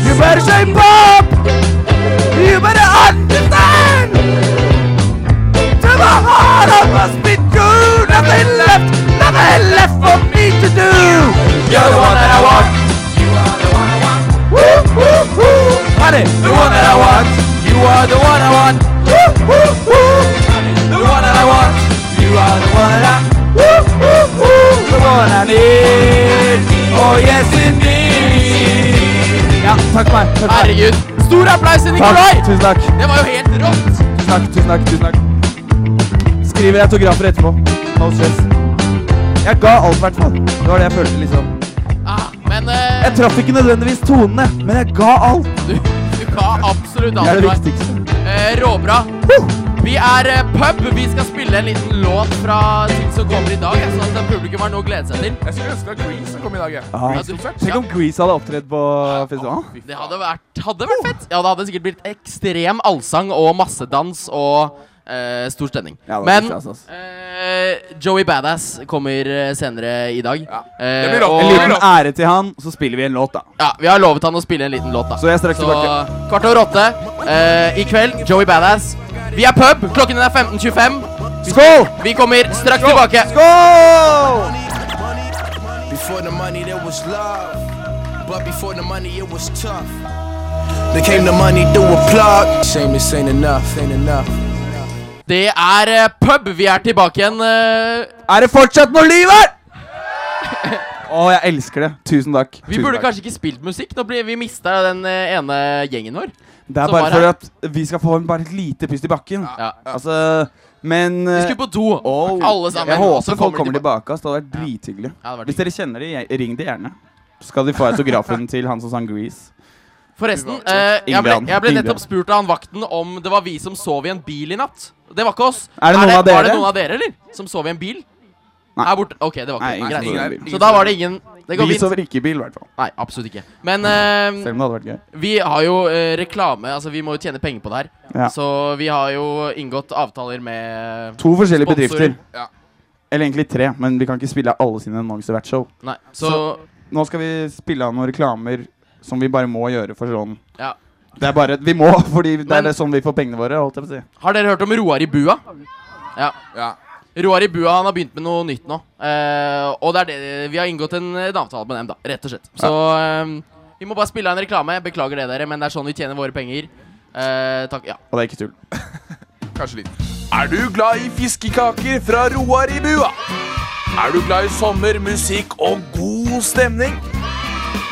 S4: You better shape up. You better understand To my heart I must be true Nothing left, nothing left for me to do You're the one that I want You are the one I want Woo, woo, woo Honey, the one that I want You are the one I want Woo, woo, woo The one that I want You are the one that I Woo, woo, woo The one I need Oh yes indeed Ja, takk for meg, takk for meg
S2: Herregud. Stor applaus til Nikolai.
S4: Tusen takk.
S2: Det var jo helt rått.
S4: Tusen takk, tusen takk, tusen takk. Skriver autografer etterpå. No stress. Jeg ga alt, i hvert fall. Det var det jeg følte, liksom.
S2: Ah, men eh,
S4: Jeg traff ikke nødvendigvis tonene, men jeg ga alt.
S2: du, du ga absolutt
S4: Det
S2: alt
S4: er
S2: du
S4: det
S2: har.
S4: viktigste.
S2: Eh, råbra. Vi er eh, pub. Vi skal spille en liten låt fra ting som kommer i dag, ja, sånn at publikum har noe å glede seg til.
S6: Jeg skulle ønske det var Grease som kom i dag. jeg.
S4: Ah.
S6: Grease-konsert.
S4: Tenk om Grease hadde opptredd på festivalen.
S2: Det hadde vært, hadde vært fett. Ja, det hadde sikkert blitt ekstrem allsang og massedans og eh, stor stemning.
S4: Ja, det hadde
S2: Men
S4: blitt stas, ass.
S2: eh, Joey Badass kommer eh, senere i dag.
S6: Ja.
S2: Eh,
S6: Det blir rått.
S4: En
S2: og,
S4: liten ære til han, så spiller vi en låt, da.
S2: ja, vi har lovet han å spille en liten låt, da.
S4: Så jeg er straks
S2: Så
S4: tilbake.
S2: kvart over åtte eh, i kveld. Joey Badass. Vi er pub. Klokken er 15.25.
S4: Skål!
S2: Vi kommer straks tilbake.
S4: Skål!
S9: Before the money, there was love. But before the money, it was tough. Then came the money through a plug. Shame this ain't enough, ain't enough.
S2: Det er eh, pub. Vi er tilbake igjen. eh,
S4: Er det fortsatt noe liv her? Å, jeg elsker det. Tusen takk.
S2: vi
S4: Tusen
S2: burde
S4: takk.
S2: kanskje ikke spilt musikk. Nå blir vi mista den eh, ene gjengen vår.
S4: Det er
S2: som
S4: bare
S2: var
S4: for
S2: her.
S4: at vi skal få en bare et lite pust i bakken.
S2: Ja.
S4: Altså, men
S2: Vi
S4: eh,
S2: skulle på do.
S4: oh,
S2: Alle sammen.
S4: Jeg
S2: Så
S4: håper folk
S2: de
S4: kommer tilbake. ass. Det hadde vært drithyggelig.
S2: Ja, det hadde vært
S4: Hvis dere kjenner de, jeg- ring de gjerne. Så skal de få autografen til han som sang Grease.
S2: Forresten, eh, jeg, ble,
S4: Ingvild.
S2: jeg ble nettopp
S4: Ingvild.
S2: spurt av han vakten om det var vi som sov i en bil i natt. Det var ikke oss.
S4: Er det noen
S2: Var
S4: av
S2: det
S4: dere?
S2: noen av dere, eller? Som sov i en bil?
S4: Nei.
S2: Her borte. Ok, det var
S4: Nei,
S2: ikke
S4: ingen
S2: greit.
S4: som
S6: Ingen
S4: sover i bil.
S2: Så da var det ingen Det går
S4: Vi
S2: fint.
S4: sover ikke i bil, i hvert fall.
S2: Nei, absolutt ikke. Men eh,
S4: Selv om det hadde vært gøy.
S2: vi har jo eh, reklame. Altså, vi må jo tjene penger på det her.
S4: Ja.
S2: Så vi har jo inngått avtaler med
S4: To forskjellige
S2: Sponsorer.
S4: bedrifter.
S6: Ja.
S4: Eller egentlig tre, men vi kan ikke spille av alle sine annonser hvert show.
S2: Nei, så
S4: Nå skal vi spille av noen reklamer som vi bare må gjøre for sånn.
S2: Ja.
S4: Det er bare, Vi må, fordi det
S2: Men-
S4: er det sånn vi får pengene våre. holdt jeg på å si.
S2: Har dere hørt om Roar i bua? Ja.
S6: Ja.
S2: Roar i bua han har begynt med noe nytt nå. Eh, og det er det vi har inngått en, en avtale med dem, da. Rett og slett. Så eh, vi må bare spille av en reklame. Beklager det, dere, men det er sånn vi tjener våre penger. Eh, takk. Ja.
S4: Og det er ikke tull.
S6: Kanskje litt. Er du glad i fiskekaker fra Roar i bua? Er du glad i sommer, musikk og god stemning?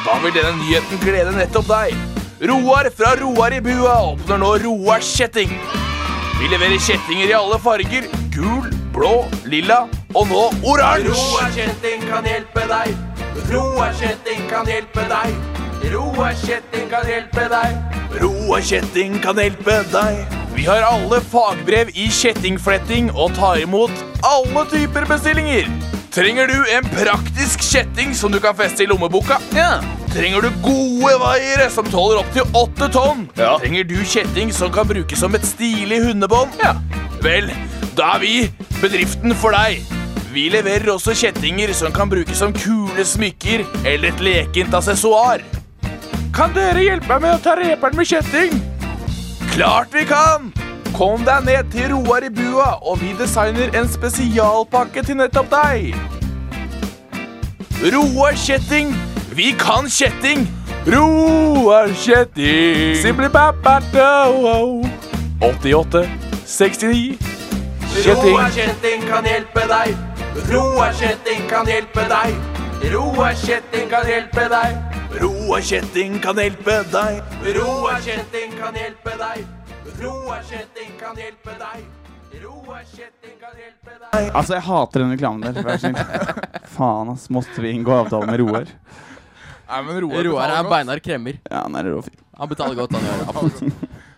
S6: Da vil denne nyheten glede nettopp deg. Roar fra Roar i bua åpner nå Roars kjetting. Vi leverer kjettinger i alle farger. Gul, blå, lilla og nå oransje. Roar kjetting kan hjelpe deg. Roar kjetting kan hjelpe deg. Roar kjetting kan hjelpe deg. Roar kjetting kan hjelpe deg. Vi har alle fagbrev i kjettingfletting og tar imot alle typer bestillinger. Trenger du en praktisk kjetting som du kan feste i lommeboka? Ja. Trenger du gode vaiere som tåler opptil åtte tonn? Ja. Trenger du kjetting som kan brukes som et stilig hundebånd? Ja. Vel, da er vi bedriften for deg. Vi leverer også kjettinger som kan brukes som kule smykker eller et lekent assessoar. Kan dere hjelpe meg med å ta reperen med kjetting? Klart vi kan! Kom deg ned til Roar i bua, og vi designer en spesialpakke til nettopp deg. Roar Kjetting. Vi kan kjetting. Roar Kjetting. Simply babado. 88 69 Kjetting.
S1: Roar Kjetting kan hjelpe deg. Roar Kjetting kan hjelpe deg. Roar Kjetting kan hjelpe deg. Roar Kjetting kan hjelpe deg. Roar Kjetting kan hjelpe deg. Roar Kjetting kan hjelpe deg. Roar Kjetting kan hjelpe deg.
S4: Altså, jeg hater den reklamen der. Vær så snill. Faen, ass. Måtte vi inngå avtale med Roar?
S6: Nei, men
S2: Roar
S6: betaler
S2: er
S6: godt.
S2: beinar kremmer.
S4: Ja, han er en rå fyr.
S2: Han betaler godt, han gjør det. Absolutt.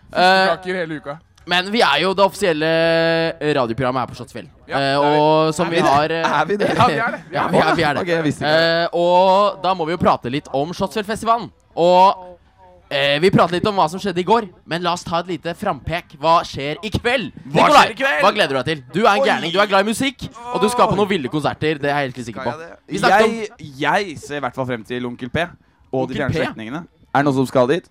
S2: Eh,
S6: Kaker hele uka.
S2: men vi er jo det offisielle eh, radioprogrammet her på Slottsfjell. Eh, og som vi har eh,
S4: Er vi det?
S2: Ja,
S6: vi er det. Vi er
S2: Ja, vi er, vi er det.
S4: Ok, jeg visste ikke
S2: Eh, og da må vi jo prate litt om Slottsfjellfestivalen. Og eh, vi prater litt om hva som skjedde i går, men la oss ta et lite frampek. Hva skjer i kveld? Nikolai,
S6: skjer i kveld?
S2: hva gleder du deg til? Du er en gærning, du er glad i musikk, og du skal på noen ville konserter. Det er jeg helt sikker på. Vi snakket om
S4: Jeg, jeg ser i hvert fall frem til Onkel P og
S2: Onkel
S4: de fjerne
S2: P?
S4: slektningene. Er det noen som skal dit?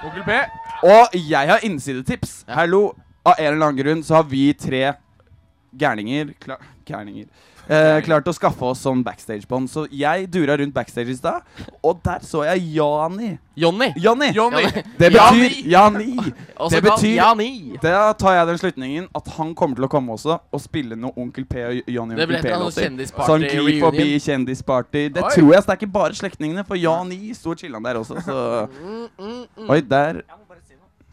S6: Onkel P.
S4: Og jeg har innsidetips. Hallo. Av en eller annen grunn så har vi tre gærninger kla- Gærninger. Eh, klart å skaffe oss sånn backstage-bånd. Så jeg dura rundt backstage i stad, og der så jeg Jani.
S2: Jonny.
S4: Jonny!
S2: Jonny.
S4: Det betyr Jani.
S2: Også
S4: Det
S2: kalt
S4: betyr
S2: Jani.
S4: Da tar jeg den slutningen at han kommer til å komme også og spille noe Onkel P Sånn og Johnny
S2: Det blir et
S4: Onkel
S2: eller annet
S4: P-låter.
S2: kjendisparty
S4: Så han glir
S2: reunion.
S4: forbi kjendisparty. Det tror jeg, så det er ikke bare slektningene, for Jan I sto og chilla der også, så Oi, der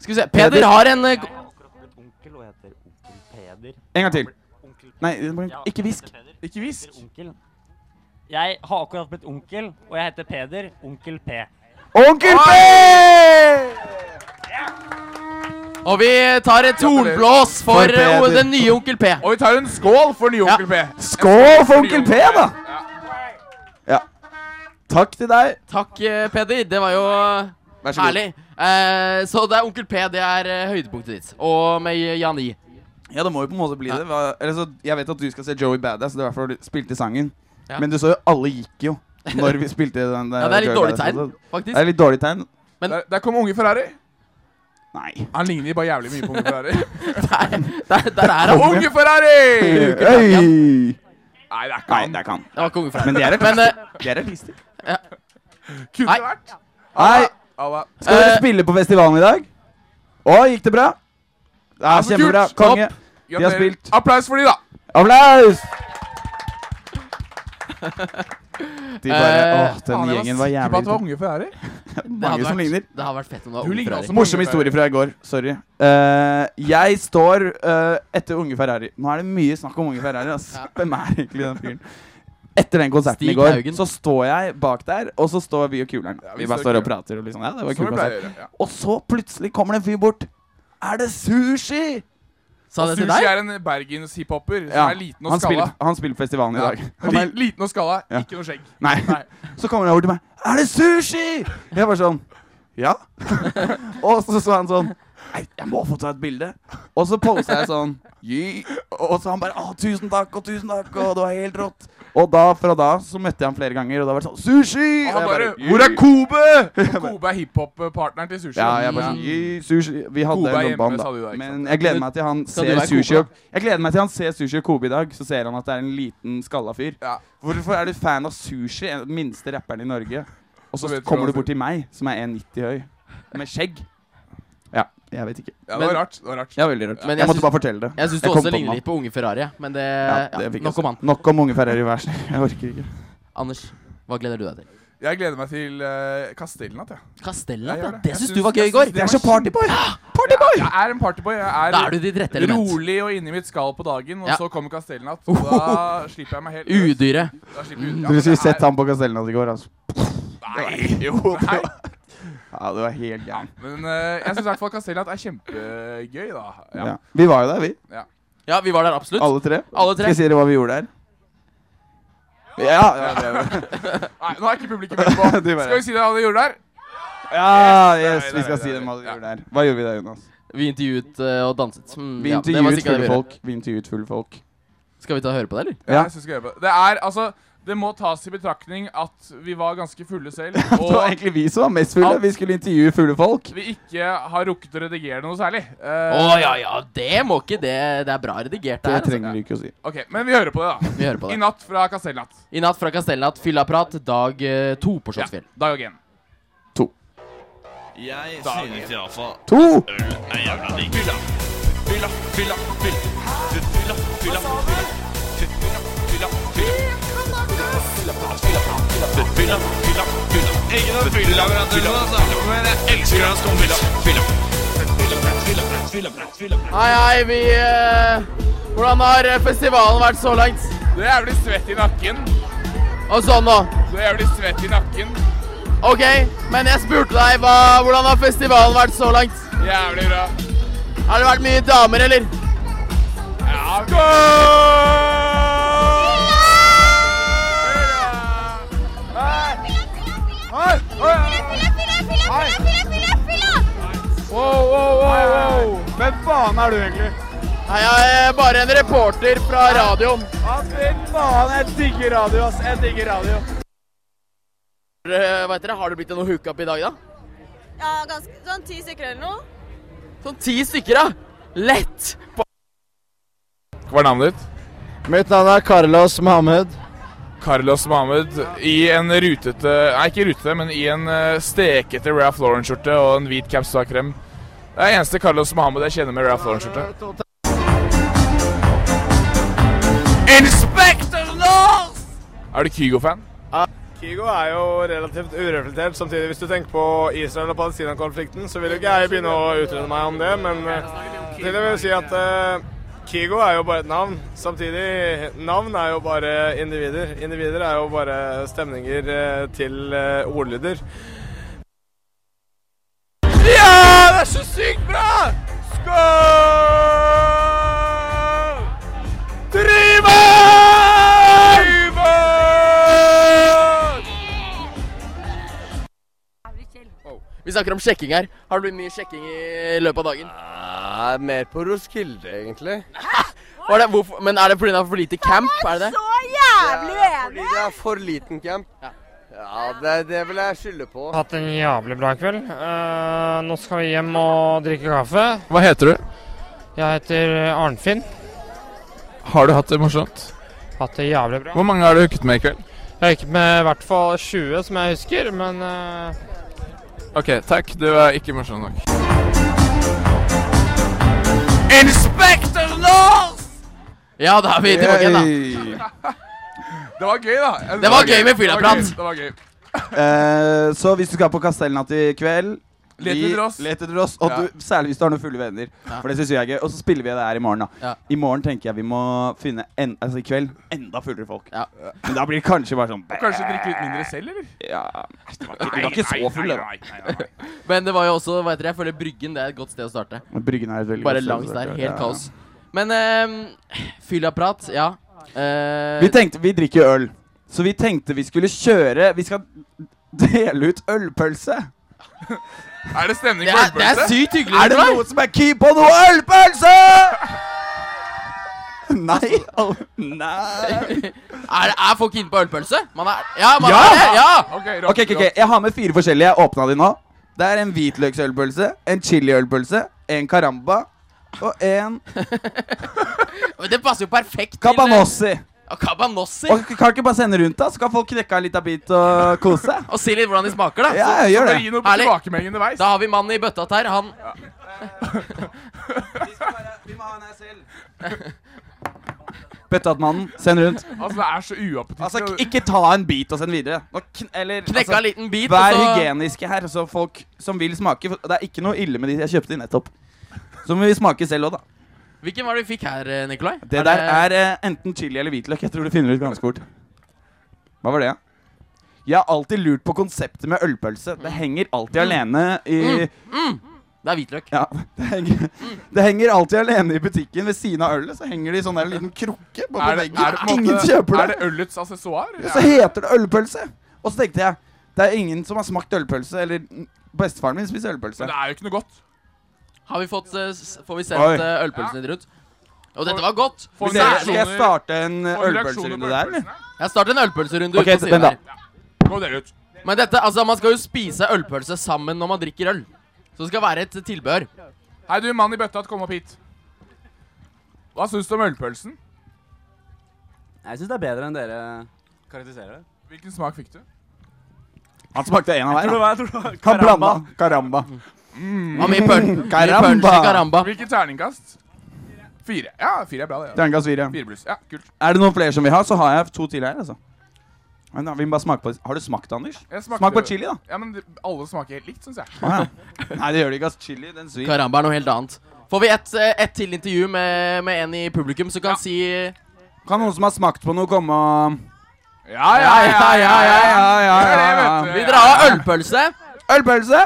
S2: Skal vi se. Peder har en eh,
S5: Onkel og heter onkel Peder.
S4: En gang til.
S5: Onkel
S4: Nei, ikke hvisk.
S6: Ikke hvisk.
S5: Onkel. Jeg har akkurat blitt onkel, og jeg heter Peder. Onkel P.
S4: Onkel P!
S2: Og vi tar et tornblås for,
S4: For Peder.
S2: eh, den nye Onkel P.
S6: Og vi tar en skål for nye Onkel P.
S4: Skål for Onkel P, da! Ja. Takk til deg.
S2: Takk, eh, Peder. Det var jo eh,
S4: Vær så god.
S2: herlig. Eh, så det er Onkel P. Det er eh, høydepunktet ditt. Og med Jan I.
S4: Ja, det må jo på en måte bli det. Hva- Eller så, jeg vet at du skal se Joey Badass, det var derfor du spilte sangen.
S2: Ja.
S4: Men du så jo alle gikk jo når vi spilte den der.
S2: Ja, det er litt
S4: Joey
S2: dårlig
S4: Badass
S2: tegn,
S4: også. Det
S2: faktisk.
S4: er litt dårlig tegn.
S6: Der, der kom unge Ferrari.
S4: Nei.
S6: Han ligner bare jævlig mye på unge Ferrari.
S2: Der, der, der er han.
S6: unge Ferrari!
S4: Øy!
S6: Nei, det er ikke
S4: Nei,
S6: han.
S4: det er ikke han.
S2: Det var konge fra
S4: Men de er
S2: Men, eh,
S4: artister. De er artister.
S6: Kunne
S2: Nei.
S6: det vært.
S4: Nei,
S6: Alla.
S2: Ah,
S4: skal
S2: Eh,
S4: dere spille på festivalen i dag? Å, gikk det bra? Ja,
S6: Ja, så kult.
S4: kjempebra. Konge. De har
S6: Gratulerer.
S4: spilt.
S6: Applaus for de, da.
S4: Applaus! De bare
S2: Eh,
S4: Åh, den gjengen var
S6: Ikke på
S4: jævlig
S6: at det var unge Ferrari.
S2: det
S4: Mange
S2: hadde
S4: som
S2: vært-
S4: ligner.
S2: Det hadde vært fett om det
S6: Du
S2: var Unge
S6: ligner
S2: Ferrari.
S6: også på
S4: Morsom
S6: Unge
S4: historie fra
S6: Ferrari.
S4: i går. Sorry. Eh, jeg står eh, etter Unge Ferrari. Nå er det mye snakk om Unge Ferrari. Ass. Hvem er egentlig den fyren? Etter den konserten
S2: Stig
S4: i går
S2: Haugen.
S4: så står jeg bak der, og så står vi og kuleren.
S6: vi
S4: vi bare
S6: står
S4: står
S6: og
S4: og prater og liksom Ja, det var en
S6: Som
S4: kul
S6: vi pleier å
S4: konsert.
S6: gjøre. Ja.
S4: Og så plutselig kommer det en fyr bort. Er det sushi?
S2: Sa det til
S6: Sushi
S2: deg?
S6: er en bergens hiphoper som
S4: Ja,
S6: er liten og
S4: han
S6: skalla.
S4: spiller, han spiller på festivalen i
S6: Ja.
S4: dag. Han
S6: Li,
S4: er,
S6: liten og skalla,
S4: Ja.
S6: ikke noe skjegg.
S4: nei.
S6: Nei.
S4: Så kommer han over til meg. Er det sushi? Jeg bare sånn Ja. og så så han sånn Nei, jeg må få ta et bilde. Og så posta jeg sånn «Gi», Og så han bare Å, tusen takk, og tusen takk, og det var helt rått. Og da, fra da så møtte jeg ham flere ganger, og da var det sånn Sushi!
S6: Og
S4: Og
S6: han
S4: jeg
S6: bare
S4: «Gi».
S6: Hvor er Kobe?
S4: Jeg
S6: Og
S4: bare-
S6: Kobe er hiphop-partneren til Sushi.
S4: Ja, jeg bare sånn
S6: Mm.
S4: «Gi, Sushi Vi hadde
S6: Kobe er
S4: en
S6: hjemme,
S4: bånd,
S6: sa du da,
S4: da.
S6: ikke
S4: Men
S6: sant?
S4: jeg gleder meg til han
S2: Skal du
S4: ser
S2: være
S4: sushi
S2: Kobe,
S4: og Jeg gleder meg til han ser sushi og Kobe i dag, så ser han at det er en liten skalla fyr.
S6: Ja.
S4: Hvorfor er du fan av sushi, en av den minste rapperen i Norge? Og
S6: Så
S4: så
S6: vet du hva
S4: kommer du
S6: han
S4: bort til meg, som er 1,90 høy, med skjegg. Ja, jeg vet ikke.
S6: Ja, det
S2: Men-
S6: var rart. Det var rart.
S4: Ja, veldig rart.
S2: Men
S4: jeg,
S2: jeg
S4: måtte
S2: syns-
S4: bare fortelle det.
S2: Jeg syns du
S4: kom
S2: også
S4: på
S2: ligner
S4: den.
S2: litt på Unge Ferrari, ja, men det,
S4: Ja,
S2: ja,
S4: det altså. fikk jeg
S2: Nok
S4: se.
S2: om han.
S4: Nok om unge Ferrari, vær så snill. Jeg orker ikke.
S2: Anders, hva gleder du deg til?
S6: Jeg gleder meg til uh, Kastellnatt, jeg.
S2: Castella,
S6: Jeg
S2: ja,
S6: gjør det.
S2: det
S6: Jeg
S2: syns du
S6: syns-
S2: var gøy
S6: jeg
S2: i går.
S6: syns det Jeg er så var
S2: partyboy.
S6: Partyboy! Jeg er en partyboy. Jeg er,
S2: Da er du ditt rette element.
S6: rolig og inni mitt skall på dagen, og
S2: Ja.
S6: så kommer Kastellnatt. og Da slipper jeg meg helt løs.
S2: Udyret.
S6: Da slipper jeg ut. Ja,
S4: Du
S6: men
S4: skulle
S6: det
S4: sett
S6: er-
S4: ham på Castellan i går, altså.
S6: Nei! Jo, nei.
S4: Ja, du var helt gæren.
S6: Men eh, jeg syns i hvert fall Kastellnatt er kjempegøy, da. Ja.
S4: Ja. Vi var jo der, vi.
S2: Ja, vi var der absolutt.
S4: Alle tre.
S2: Alle tre.
S4: Skal jeg si dere hva vi gjorde der? Ja, ja, det er det.
S6: Nei, nå er ikke publikum med på.
S4: De bare-
S6: Skal vi si det han gjorde der?
S4: ja yes,
S6: Nei,
S4: vi
S6: nei,
S4: skal si
S6: nei,
S4: det.
S6: nei.
S4: Hva gjorde vi der? Hva gjorde vi der, Jonas?
S2: Vi intervjuet eh, og danset. Mm,
S4: Vi
S2: ja, det var sikkert
S4: intervjuet
S2: det vi
S4: fulle
S2: gjorde.
S4: folk. Vi intervjuet fulle folk.
S2: Skal vi ta og høre på det, eller?
S4: Ja.
S6: Jeg synes vi skal gjøre det. Det er, altså, det må tas i betraktning at vi var ganske fulle selv,
S4: Det var
S6: og
S4: egentlig vi som var mest fulle. Vi skulle intervjue fulle folk.
S6: vi ikke har rukket å redigere noe særlig. Eh,
S2: Å ja, ja, det må ikke det. Det er bra redigert
S4: Det
S2: der. Altså.
S4: trenger du ikke å si.
S6: ok, men vi hører på det,
S2: Vi hører
S6: da.
S2: på
S6: I
S2: det.
S6: natt fra Kastellnatt.
S2: I natt fra Kastellnatt, fyllaprat, dag eh, to på
S6: Ja,
S2: Slottsfjell.
S6: dag én.
S10: Jeg synes iallfall
S4: To!
S10: er jævla digg. Fylla, fylla, fylla, fylla. Fylla, fylla, fylla. Fylla, fylla, fylla. Fylla, fylla, fylla. Ikke noe fyllaleverandør nå, altså. Men jeg elsker hans komfylla. Fylla.
S2: Hei, hei, vi eh, Hvordan har eh, festivalen vært så langt?
S6: Du er jævlig svett i nakken.
S2: Og sånn nå.
S6: Du er jævlig svett i nakken.
S2: OK, men jeg spurte deg hva, hvordan har festivalen vært så langt?
S6: Jævlig bra.
S2: Har det vært mye damer, eller?
S6: Ja, Skål! Wow, wow, wow, wow.
S4: Hvem faen er du egentlig?
S2: Nei, jeg er bare en reporter fra radioen.
S4: Fy faen, jeg digger radio, ass. Jeg digger radio.
S2: Eh, Hva heter det? Har det blitt noe hookup i dag, da?
S11: Ja, ganske, sånn ti stykker eller noe.
S2: Sånn ti stykker, da. Lett.
S6: Hva er navnet ditt?
S12: Mitt navn er Carlos Mohammed.
S6: Carlos Mohammed i en rutete Nei, ikke rutete, men i en eh, stekete Ralph Lauren-skjorte og en hvit capstakrem. Det er eneste Carlos Mohammed jeg kjenner med Ralph Lauren-skjorte. Inspector North! Er du Kygo-fan?
S12: Kygo er jo relativt ureflektert. Samtidig, hvis du tenker på Israel og Palestina-konflikten, så vil jo ikke jeg begynne å utrede meg om det, men eh, til og med si at eh, Kygo er jo bare et navn. Samtidig, navn er jo bare individer. Individer er jo bare stemninger eh, til eh, ordlyder.
S6: Ja, det er så sykt bra! Skål! Driver!
S2: Vi snakker om sjekking her. Har det blitt mye sjekking i løpet av dagen?
S4: Ah,
S12: mer på Roskilde, egentlig.
S2: Var det, hvorfor, men er det pga. for lite camp? Er det det?
S11: Så jævlig uenig!
S12: det er for liten camp. Ja, det, vil jeg skylde på.
S5: Hatt en jævlig bra kveld. Eh, nå skal vi hjem og drikke kaffe.
S6: Hva heter du?
S5: Jeg heter eh, Arnfinn.
S6: Har du hatt det morsomt?
S5: Hatt det jævlig bra.
S6: Hvor mange har du hooket med i kveld?
S5: Jeg har ikke med i hvert fall 20, som jeg husker, men eh,
S6: Ok, takk. Du er ikke morsom nok. Inspektør North!
S2: Ja, da er vi tilbake igjen, da.
S6: Det var gøy, da. Jeg synes
S2: Det var gøy med
S6: Det var
S2: fyllaprat.
S6: gøy, Det var gøy.
S4: Eh, så hvis du skal på Kastellnatt i kveld
S6: Let
S4: vi-
S6: etter oss.
S4: Let etter oss og
S6: Ja.
S4: du, særlig hvis du har noen fulle venner. For det synes jeg er gøy. Og så spiller vi det her i morgen, da.
S2: Ja.
S4: I morgen tenker jeg vi må finne en, Altså i kveld enda fullere folk.
S2: Ja.
S4: Men da blir det kanskje bare sånn
S6: Kanskje drikke litt mindre selv, eller?
S4: ja, Vi var ikke, vi var ikke så fulle, da.
S2: Men det var jo også, hva heter det, jeg føler Bryggen det er et godt sted å starte.
S4: Men Bryggen er et veldig
S2: Bare
S4: godt sted
S2: langs
S4: å
S2: der.
S4: starte. Ja,
S2: Helt
S4: ja.
S2: kaos. Men eh, fyllaprat, ja. Eh,
S4: Vi tenkte Vi drikker jo øl. Så vi tenkte vi skulle kjøre Vi skal dele ut ølpølse.
S6: Er det stemning
S2: det,
S6: for
S2: er, det er
S6: ølpølse?
S2: sykt hyggelig.
S4: Er det
S2: Nikolai.
S4: noen som er keen på noe ølpølse? Nei. Al- Nei.
S2: Er, er folk inne på ølpølse? Man er, ja, man
S4: Ja!
S2: er det! Ja!
S6: Ok, rock,
S4: Ok, ok, ok. Jeg har med fire forskjellige. Jeg åpna de nå. Det er en hvitløksølpølse, en chiliølpølse, en caramba og en
S2: Men Det passer jo perfekt til
S4: cabanossi.
S2: Ja, Cabanossi.
S4: Og kan ikke bare sende rundt, da? Så kan folk knekke en liten bit og kose seg.
S2: Og si litt hvordan de smaker, da.
S4: Ja, jeg gjør
S6: Bare
S4: det.
S6: Gi noe
S2: Ærlig.
S6: tilbakemelding underveis.
S2: Da har vi mannen i bøtta her. Han
S4: Bøttatmannen, send rundt.
S6: Altså, det er så uappetittlig.
S4: Altså, k- ikke ta en bit og send videre. Nå kn eller,
S2: knekka
S4: altså,
S2: en liten bit.
S4: Vær
S2: og så-
S4: hygieniske her, så folk som vil smake for Det er ikke noe ille med de jeg kjøpte nettopp. Så må vi smake selv òg, da.
S2: Hvilken var det vi fikk her, eh, Nikolai?
S4: Det der er eh, enten chili eller hvitløk. Jeg tror du finner ut ganske fort. Hva var det, da?
S2: Mm.
S4: Jeg har alltid lurt på konseptet med ølpølse. Det henger alltid alene i
S2: Det er hvitløk.
S4: Ja, det henger,
S6: Mm.
S4: det henger alltid alene i butikken ved siden av ølet. Så henger det i sånn der liten krukke på, på
S6: Er det,
S4: veggen.
S6: er det, på en
S4: Ingen
S6: måte,
S4: kjøper det.
S6: er det ølets aksessoar?
S4: Og så heter det ølpølse. Og så tenkte jeg det er ingen som har smakt ølpølse. Eller mm, bestefaren min spiser ølpølse.
S6: Men det er jo ikke noe godt.
S2: Har vi fått eh, s- Får vi sendt
S4: Oi.
S2: eh, ølpølsene litt rundt? Og dette var godt.
S4: Får vi reaksjoner- Skal jeg starte en
S2: Får vi
S4: ølpølserunde
S2: reaksjoner på
S4: der, eller?
S2: Jeg starter en ølpølserunde
S4: Ok,
S2: ute på siden
S4: vent da.
S2: her. Men dette, altså, man skal jo spise ølpølse sammen når man drikker øl. Så det skal være et tilbehør.
S6: Hei, du, mann i bøtta, kom opp hit. Hva syns du om ølpølsen?
S13: Jeg syns det er bedre enn dere karakteriserer det.
S6: Hvilken smak fikk du?
S4: Han smakte en av
S13: Jeg tror det var- jeg tror
S4: hver.
S13: det var
S4: Han blanda. Karamba.
S6: Mm.
S4: Hva med pøl- mye Karamba. pølse, karamba.
S6: Hvilken terningkast? Fire. Ja, fire er bra, det. ja.
S4: Terningkast fire.
S6: Fire pluss. Ja, kult.
S4: Er det noen flere som vil ha, så har jeg to til her. altså men da, vi må bare smake på Har du smakt, Anders?
S6: Jeg smakte-
S4: Smak på chili, da.
S6: Ja, men det- alle smaker helt likt, syns jeg.
S4: Ah, ja. Nei, det gjør det ikke. ass. Chili, den svir.
S2: Karamba er noe helt annet. Får vi ett eh, ett til intervju med, med en i publikum som kan si
S4: Kan noen som har smakt på noe, komme og
S6: Ja,
S2: ja, ja, ja, ja,
S4: ja, ja, ja, ja.
S2: Vi drar av ølpølse.
S4: Ølpølse?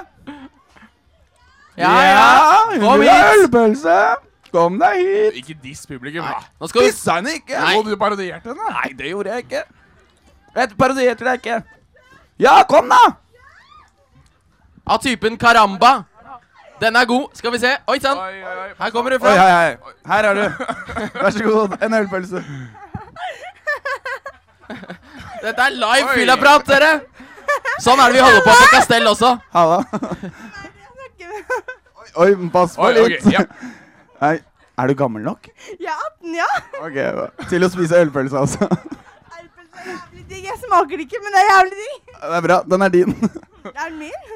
S2: Ja, ja.
S4: Kom
S2: Kom
S4: hit!
S2: hit.
S4: Ølpølse! Kom deg hit!
S6: Ikke diss publikum, da.
S4: Nå skal Dissa henne ikke!
S6: Nei. Og du parodierte henne?
S4: Nei, det gjorde jeg ikke. Jeg parodierte deg ikke. Ja, kom, da!
S2: Av typen karamba. Den er god. Skal vi se. Oi sann. Her kommer du
S4: Oi,
S2: fra.
S4: hei, hei. Her er du. Vær så god. En ølpølse.
S2: Dette er live
S4: Oi.
S2: fyllaprat, dere. Sånn er det vi holder på på Castell også.
S4: Halla. Oi, men pass på
S2: Oi, ok,
S4: litt.
S2: ja.
S4: Nei, er du gammel nok?
S11: Jeg er 18, ja.
S4: Ok, da. Til å spise ølpølse, altså.
S11: Jævlig digg. Jeg smaker det ikke, men det er jævlig digg.
S4: Det er bra. Den er din.
S11: Det er min.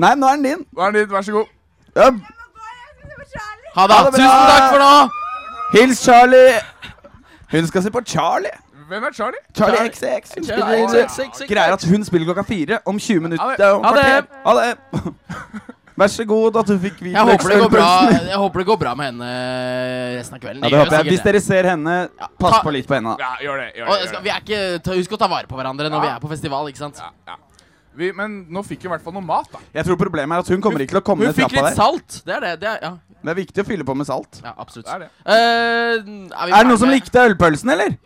S4: Nei, nå er den din.
S6: Nå er den din. Vær så god.
S4: Ja.
S2: Ha det.
S4: bra.
S2: Tusen takk for nå.
S4: Hils Charlie. Hun skal se på Charlie.
S6: Hvem er Charlie?
S4: Charlie XX. Hun
S6: Charlie
S4: spiller, greier at hun spiller klokka fire om 20 minutter.
S6: Ha det.
S4: Det er om
S6: Ha det.
S4: kvarter. Ha det. Vær så god at du fikk vite
S2: Jeg håper, det går bra. jeg håper det går bra med henne resten av kvelden.
S4: Ja, det
S2: gjør
S4: håper jeg.
S2: sikkert
S4: Hvis
S2: det.
S4: dere ser henne, pass på litt på henne. da.
S6: Ja, gjør det. gjør det,
S2: Og
S6: gjør
S2: skal,
S6: det.
S2: vi er ikke, ta, Husk å ta vare på hverandre når
S6: Ja.
S2: vi er på festival, ikke sant?
S6: Vi, men nå fikk vi i hvert fall noe mat, da.
S4: Jeg tror problemet er at hun kommer ikke til å komme
S2: Hun
S4: ned
S2: fikk
S4: trappa
S2: litt
S4: der.
S2: salt. Det er det. det er, ja.
S4: Det er viktig å fylle på med salt.
S2: ja, absolutt.
S6: Det er det.
S2: Eh, er, vi
S4: Er det noen som
S2: ferdige?
S4: likte ølpølsen, eller?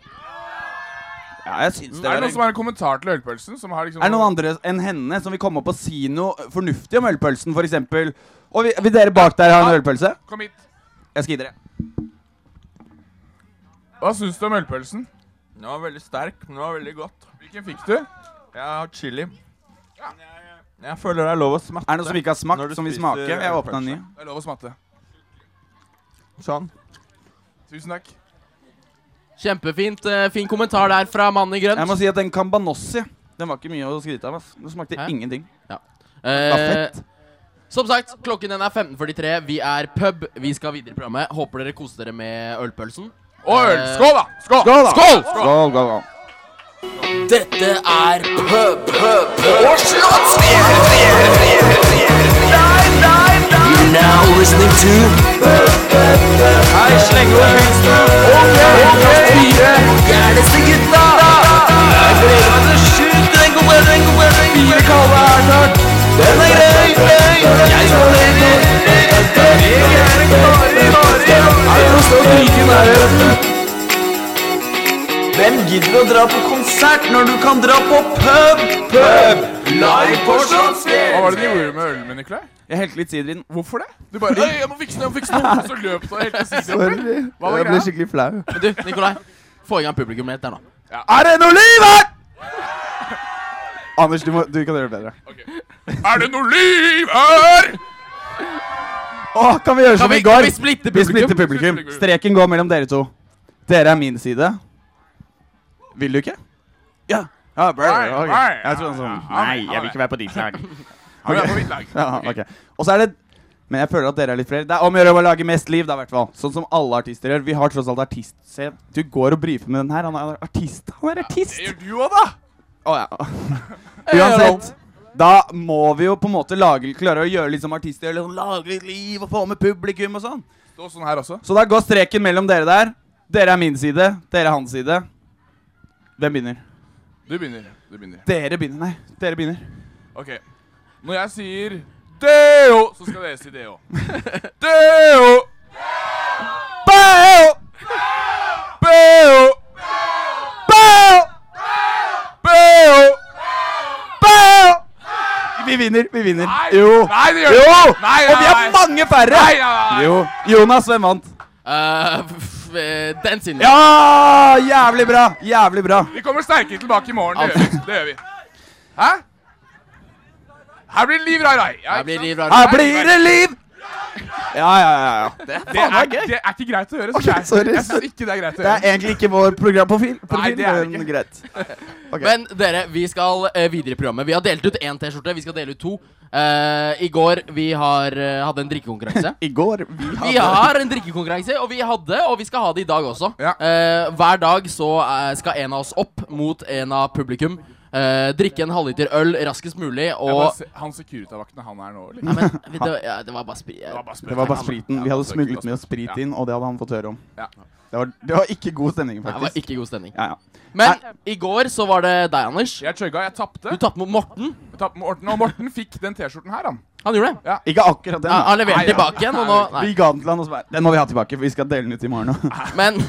S4: Ja, jeg syns det.
S6: Mm, er det
S4: var
S6: noen som har en kommentar til ølpølsen? Som har liksom
S4: Er det noen andre enn henne som vil komme opp og si noe fornuftig om ølpølsen, for eksempel? Og vil, vil dere bak der ha en ølpølse?
S6: Kom hit.
S4: Jeg skal gi dere.
S6: Hva syns du om ølpølsen?
S14: Den var veldig sterk, men den var veldig godt.
S6: Hvilken fikk du?
S14: Jeg har chili. Jeg føler det er lov å smatte.
S4: Er det noen som ikke har smakt,
S14: når du
S4: som vil
S14: spiser
S4: smake? Jeg
S14: ølpølse.
S4: åpna en ny.
S6: Det er lov å smatte.
S14: Sånn.
S6: Tusen takk.
S2: Kjempefint. eh, fin kommentar der fra mannen i grønt.
S4: Jeg må si at den Cambanossi, den var ikke mye å skryte av. ass. Den smakte
S2: Hæ?
S4: ingenting.
S2: Ja.
S4: Det var
S2: Eh,
S4: fett.
S2: Som sagt, klokken den er 15.43. Vi er pub. Vi skal videre i programmet. Håper dere koser dere med ølpølsen.
S6: Og øl.
S2: Eh,
S6: Skål, da! Skål!
S2: Skål, da!
S6: Skål!
S4: Skål, skål, skål.
S15: Dette er pub, pub, pub. You're now listening to Hei, sleng over pilsen. Ok, ok. Gærneste gutta. Jeg gleder meg til å skyte den gode, den gode, den gode. Fire kalde er snart. Den er grei, grei. Jeg skal leve. Jeg er en kare, kare. Er det noe stort like i nærheten? Hvem gidder å dra på konsert når du kan dra på pub, pub? Live på Slottsfjell.
S6: Hva var det de gjorde med ølen min, Nikolai?
S4: Jeg helte litt sider i den.
S6: Hvorfor det? Du bare Øy, jeg må fikse noe, jeg må fikse noe! Og så løp du helt til siden. Hva var greia?
S4: skikkelig flau.
S2: Du, Nikolai. Få i gang publikum litt der nå.
S4: Er det noe liv her?! Anders, du, må, du kan gjøre det bedre.
S6: Er det noe liv her?
S4: Å, kan vi gjøre
S6: Kan
S4: som
S6: vi-
S4: i går?
S6: kan vi splitte publikum?
S4: splitter publikum. Streken går mellom dere to. Dere er min side. Vil du ikke? Ja. Ja, bra,
S6: Nei,
S4: ok.
S6: nei,
S4: Jeg tror han sånn
S6: ja,
S4: Nei,
S6: ja,
S4: jeg vil
S6: ja.
S4: ikke være på ditt lag.
S6: Ja, vi er
S4: Ok.
S6: på mitt lag.
S4: Ja, ok. Og så er det Men jeg føler at dere er litt flere. Det er om å gjøre å lage mest liv, da, i hvert fall. Sånn som alle artister gjør. Vi har tross alt artist. Se, du går og brifer med den her. Han er artist. Han er artist.
S6: Gjør du òg, da?
S4: Å ja. Uansett. Da må vi jo på en måte lage, klare å gjøre litt som artister. Eller sånn, lage litt liv og få med publikum og sånn.
S6: Stå sånn her også.
S4: Så da går streken mellom dere der. Dere er min side, dere er hans side. Hvem begynner?
S6: Du begynner. Du begynner.
S4: Dere begynner, nei. Dere begynner.
S6: Ok. Når jeg sier Deo! Så skal dere si Deo. Deo! Beo! Beo! Beo! Beo! Beo!
S4: Vi vinner, vi vinner.
S6: Nei,
S4: jo.
S6: nei, det gjør vi
S4: jo.
S6: ikke. Nei, nei,
S4: Og vi
S6: nei.
S4: er mange færre.
S6: Nei, nei, nei.
S4: Jo. Jonas, hvem vant?
S2: Eh, den siden.
S4: Ja! Ah, Jævlig bra. Jævlig bra.
S6: Vi kommer sterkere tilbake i morgen. Det gjør vi. Det gjør vi. Hæ? Her blir det liv, rai, rai. Ja,
S2: Her blir det liv, rai, rai.
S6: Her
S4: Her blir det liv! Ja, ja, ja. ja.
S6: Det, er, det er ikke greit å gjøre. synes jeg.
S4: sorry,
S6: Jeg synes ikke det er greit å
S4: Det
S6: gjøre.
S4: er egentlig ikke vår programprofil,
S6: Nei,
S4: profil,
S6: det er det
S4: men
S6: ikke.
S4: greit.
S2: Men dere, vi skal eh, videre i programmet. Vi har delt ut én T-skjorte. Vi skal dele ut to. Eh, I går vi har, eh, hadde en drikkekonkurranse.
S4: I går vi
S2: Vi har en drikkekonkurranse, og vi hadde, og vi skal ha det i dag også. Eh, hver dag så eh, skal en av oss opp mot en av publikum. eh, drikke en halvliter øl raskest mulig
S6: Jeg
S2: og
S6: bare ser- Han Securitas-vakten, han er nå, liksom. eller?
S2: Nei, men, det, var- ja, det var bare sprit.
S4: Mm. Det var bare spriten. Vi hadde smuglet med oss sprit inn, og det hadde han fått høre om.
S6: Ja.
S4: Det var, det var ikke god stemning,
S2: Det
S4: faktisk.
S2: var ikke god stemning.
S4: Ja, ja.
S2: Men i går så var det deg, Anders.
S6: Jeg chugga, jeg tapte.
S2: Du tapte mot Morten.
S6: Jeg tapte mot Morten, og Morten fikk den T-skjorten her, han.
S2: Han gjorde det.
S6: Ja.
S4: Ikke akkurat den.
S2: Ja, han leverte
S4: Nei, ja.
S2: tilbake igjen, og nå- nei.
S4: Vi ga den til han og så bare Den må vi ha tilbake, for vi skal dele den ut i morgen òg.
S2: Men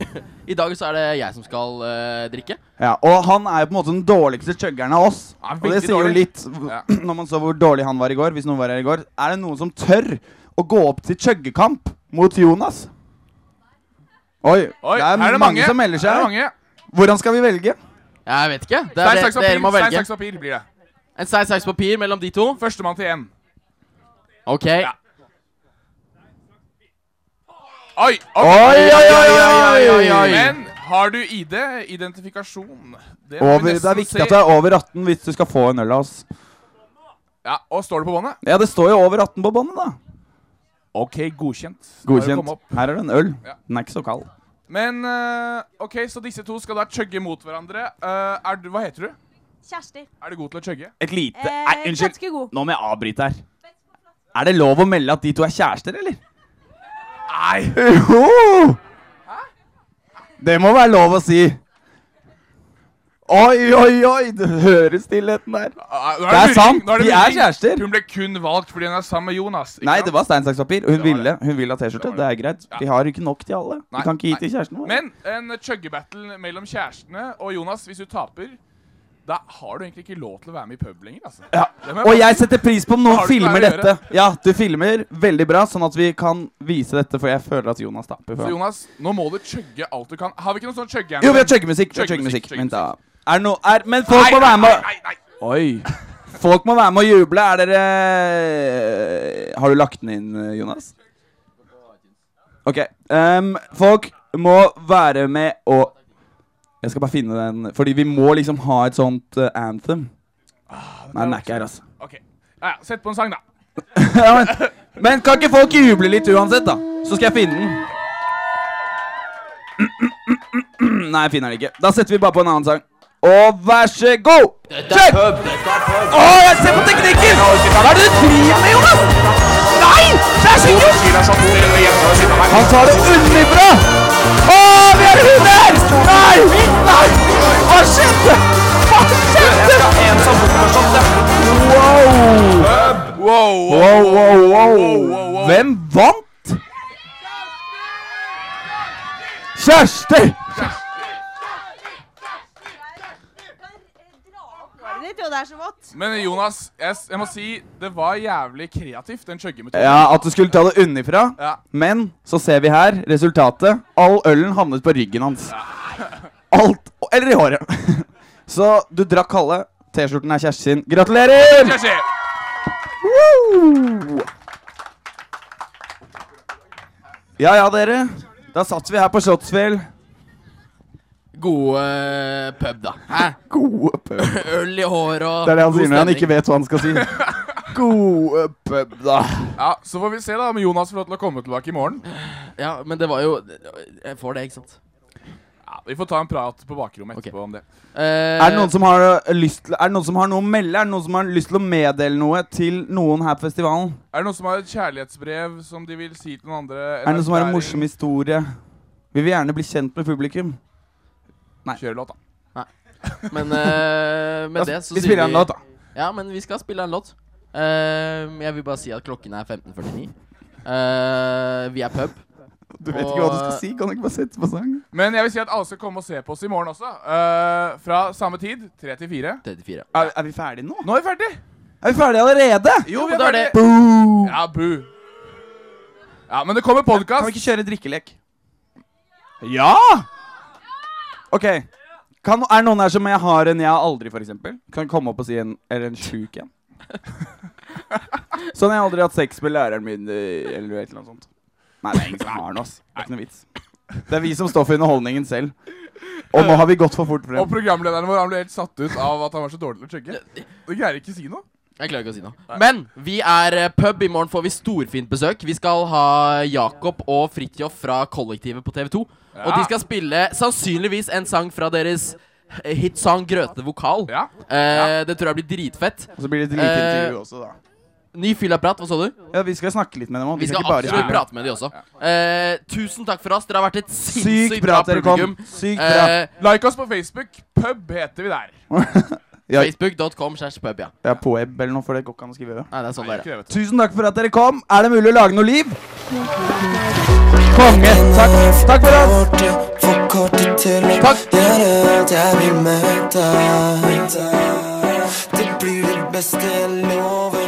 S2: i dag så er det jeg som skal eh, drikke.
S4: Ja, og han er jo på en måte den dårligste chuggeren av oss.
S2: Ja,
S4: og det
S2: veldig
S4: sier jo
S2: dårlig.
S4: litt v- når man så hvor dårlig han var i går. Hvis noen var her i går Er det noen som tør å gå opp til chuggekamp mot Jonas? Oi,
S6: Oi,
S4: det
S6: her
S4: er,
S6: er det
S4: mange,
S6: mange.
S4: som melder
S6: Her
S4: seg.
S6: er det mange.
S4: Hvordan skal vi velge?
S2: Jeg vet ikke. Det
S6: Stein,
S2: er det,
S6: saks,
S2: dere må
S6: papir. Stein,
S2: velge.
S6: saks, papir blir det.
S2: En stein, saks, papir mellom de to.
S6: Førstemann til én.
S2: OK.
S6: Oi, ok.
S2: Oi, oi, oi, oi, oi, oi.
S6: Men har du ID? Identifikasjon. Det må vi
S4: Over, det
S6: nesten
S4: er viktig
S6: se.
S4: at du er over 18 hvis du skal få en øl av oss.
S6: Ja, Og står det på båndet?
S4: Ja, det står jo over 18 på båndet, da.
S6: OK, godkjent. Da har det kommet
S4: Godkjent.
S6: opp.
S4: Her er det en øl.
S6: Ja.
S4: Den er ikke så kald.
S6: Men eh, OK, så disse to skal da chugge mot hverandre. Eh, er du, hva heter du?
S16: Kjersti.
S6: Er du god til å chugge?
S4: Et lite
S16: Eh,
S4: Nei, unnskyld.
S16: ganske god.
S4: Nå må jeg avbryte her. Er det lov å melde at de to er kjærester, eller? Nei. Jo! Det må være lov å si. Oi, oi, oi! Du hører stillheten der.
S6: Ah, nå
S4: Det er
S6: luring,
S4: sant,
S6: nå
S4: de er
S6: luring.
S4: kjærester.
S6: Hun ble kun valgt fordi hun er sammen med Jonas. ikke
S4: Nei,
S6: sant?
S4: det var stein, saks, papir. og Hun ville Hun ville ha T-skjorte. Det er greit. Vi har ikke nok til alle.
S6: Nei,
S4: Vi kan ikke gi
S6: nei.
S4: til kjæresten vår.
S6: Men en chugge-battle mellom kjærestene og Jonas, hvis du taper da har du egentlig ikke lov til å være med i pub lenger. altså.
S4: Ja.
S6: Det må jeg
S4: Og
S6: bare-
S4: jeg setter pris på om
S6: Da
S4: noen
S6: har du ikke
S4: filmer
S6: noe å gjøre.
S4: dette. Ja, du filmer veldig bra, sånn at vi kan vise dette, for jeg føler at Jonas taper. for
S6: Så
S4: han-
S6: Jonas, nå må du chugge alt du kan. Har vi ikke noe sånn chugge?
S4: Jo, vi har chuggemusikk. vi har chuggemusikk. Vent, da. Er det noe er, Men folk må være med
S6: Nei, nei, nei.
S4: Oi. Folk må være med og juble. Er dere eh, Har du lagt den inn, eh, Jonas? OK. ehm, folk må være med og Jeg skal bare finne den, fordi vi må liksom ha et sånt eh, anthem. Nei, den er ikke her, altså.
S6: Ok. Ja, ja, Sett på en sang, da.
S4: ja, men, men kan ikke folk juble litt uansett, da? Så skal jeg finne den. Nei, jeg finner den ikke. Da setter vi bare på en annen sang. Og vær så god! Check! Å, jeg ser på teknikken! Hva er det du driver med, Jonas? Nei! Det er så gøy! Han tar det unnifra! Å, vi har hund her! Nei! Nei! Å, shit! Å, shit! Wow!
S6: Wow,
S4: wow, wow, Hvem vant? Kjersti!
S11: eh, Håret ditt, jo, det er så vått.
S6: Men Jonas, jeg, s- jeg må si det var jævlig kreativt, den chuggemetoden.
S4: Ja, At du skulle ta det unnifra.
S6: Ja.
S4: Men så ser vi her resultatet. All ølen havnet på ryggen hans. Alt Eller i håret. Så du drakk halve. T-skjorten er Kjersti sin. Gratulerer!
S6: Kjersti!
S4: Woo! Ja ja, dere. Da satt vi her på Slottsfjell.
S2: Gode eh, pub, da. Hæ?
S4: Gode pub.
S2: Øl i håret og
S4: Det er det han
S2: god
S4: sier når han
S2: stemning.
S4: ikke vet hva han skal si. Gode pub, da.
S6: Ja, Så får vi se da om Jonas får lov til å komme tilbake i morgen.
S2: Ja, men det var jo Jeg får det, ikke sant?
S6: Ja, Vi får ta en prat på bakrommet etterpå om det.
S4: Er det noen som har ø, lyst til Er det noen som har noe å melde? Er det noen som har lyst til å meddele noe til noen her på festivalen?
S6: Er det noen som har et kjærlighetsbrev som de vil si til noen andre?
S4: Er det noen som har en morsom historie? Vi vil gjerne bli kjent med publikum. Nei.
S6: Kjør låt, da.
S2: Men eh, med
S4: Da
S2: det
S4: sp-
S2: så
S4: vi
S2: sier
S4: spiller en låt, da.
S2: Ja, men vi skal spille en låt. Eh, Eh, jeg vil bare si at klokken er 15.49. Eh, vi er pub.
S4: Du vet ikke hva du skal si. Kan du ikke bare sette på sang?
S6: Men jeg vil si at alle skal komme og se på oss i morgen også. eh, fra samme tid. Tre til fire.
S4: Er, er vi ferdige nå?
S6: Nå er vi ferdig.
S4: Er vi ferdige allerede?
S6: Jo, vi er ferdig. Ja, bu. Ja, men det kommer podkast.
S4: Kan vi ikke kjøre drikkelek? Ja! OK. Kan, er det noen her som jeg har en jeg har aldri, for eksempel? Kan komme opp og si en Eller en sjuk en? sånn jeg har aldri hatt sex med læreren min, eh, eller et eller annet sånt. Nei, det er ingen som har den, ass. Det er ikke noe vits. Det er vi som står for underholdningen selv. Og nå har vi gått for fort frem.
S6: Og programlederen vår han ble helt satt ut av at han var så dårlig til å chugge. Du greier ikke å si noe.
S2: Jeg klarer ikke å si noe. Men vi er eh, pub. I morgen får vi storfint besøk. Vi skal ha Jakob og Fridtjof fra Kollektivet på TV2. Og
S17: Ja.
S2: de skal spille sannsynligvis en sang fra deres hitsang 'Grøtende vokal'. Eh, Det tror jeg blir dritfett.
S4: Og så blir det et lite intervju
S2: Eh,
S4: også, da.
S2: Ny fyllaprat, hva sa du?
S4: Ja, Vi skal snakke litt med dem òg.
S2: Vi skal absolutt prate med de også. Eh, tusen takk for oss. Dere har vært et sinnssykt
S4: Sykt
S2: bra
S4: bra at dere kom.
S2: publikum.
S4: Sykt
S2: Eh,
S6: Like oss på Facebook. Pub heter vi der.
S4: Ja.
S2: Facebook.com slash pub, ja.
S4: Ja, på web eller noe, for det går ikke an å skrive.
S2: Nei, det er sånn det er.
S4: Tusen takk for at dere kom. Er det mulig å lage noe liv? Konge. Takk, takk for oss.
S5: Jeg er at jeg vil møte deg. Det blir det beste, jeg lover.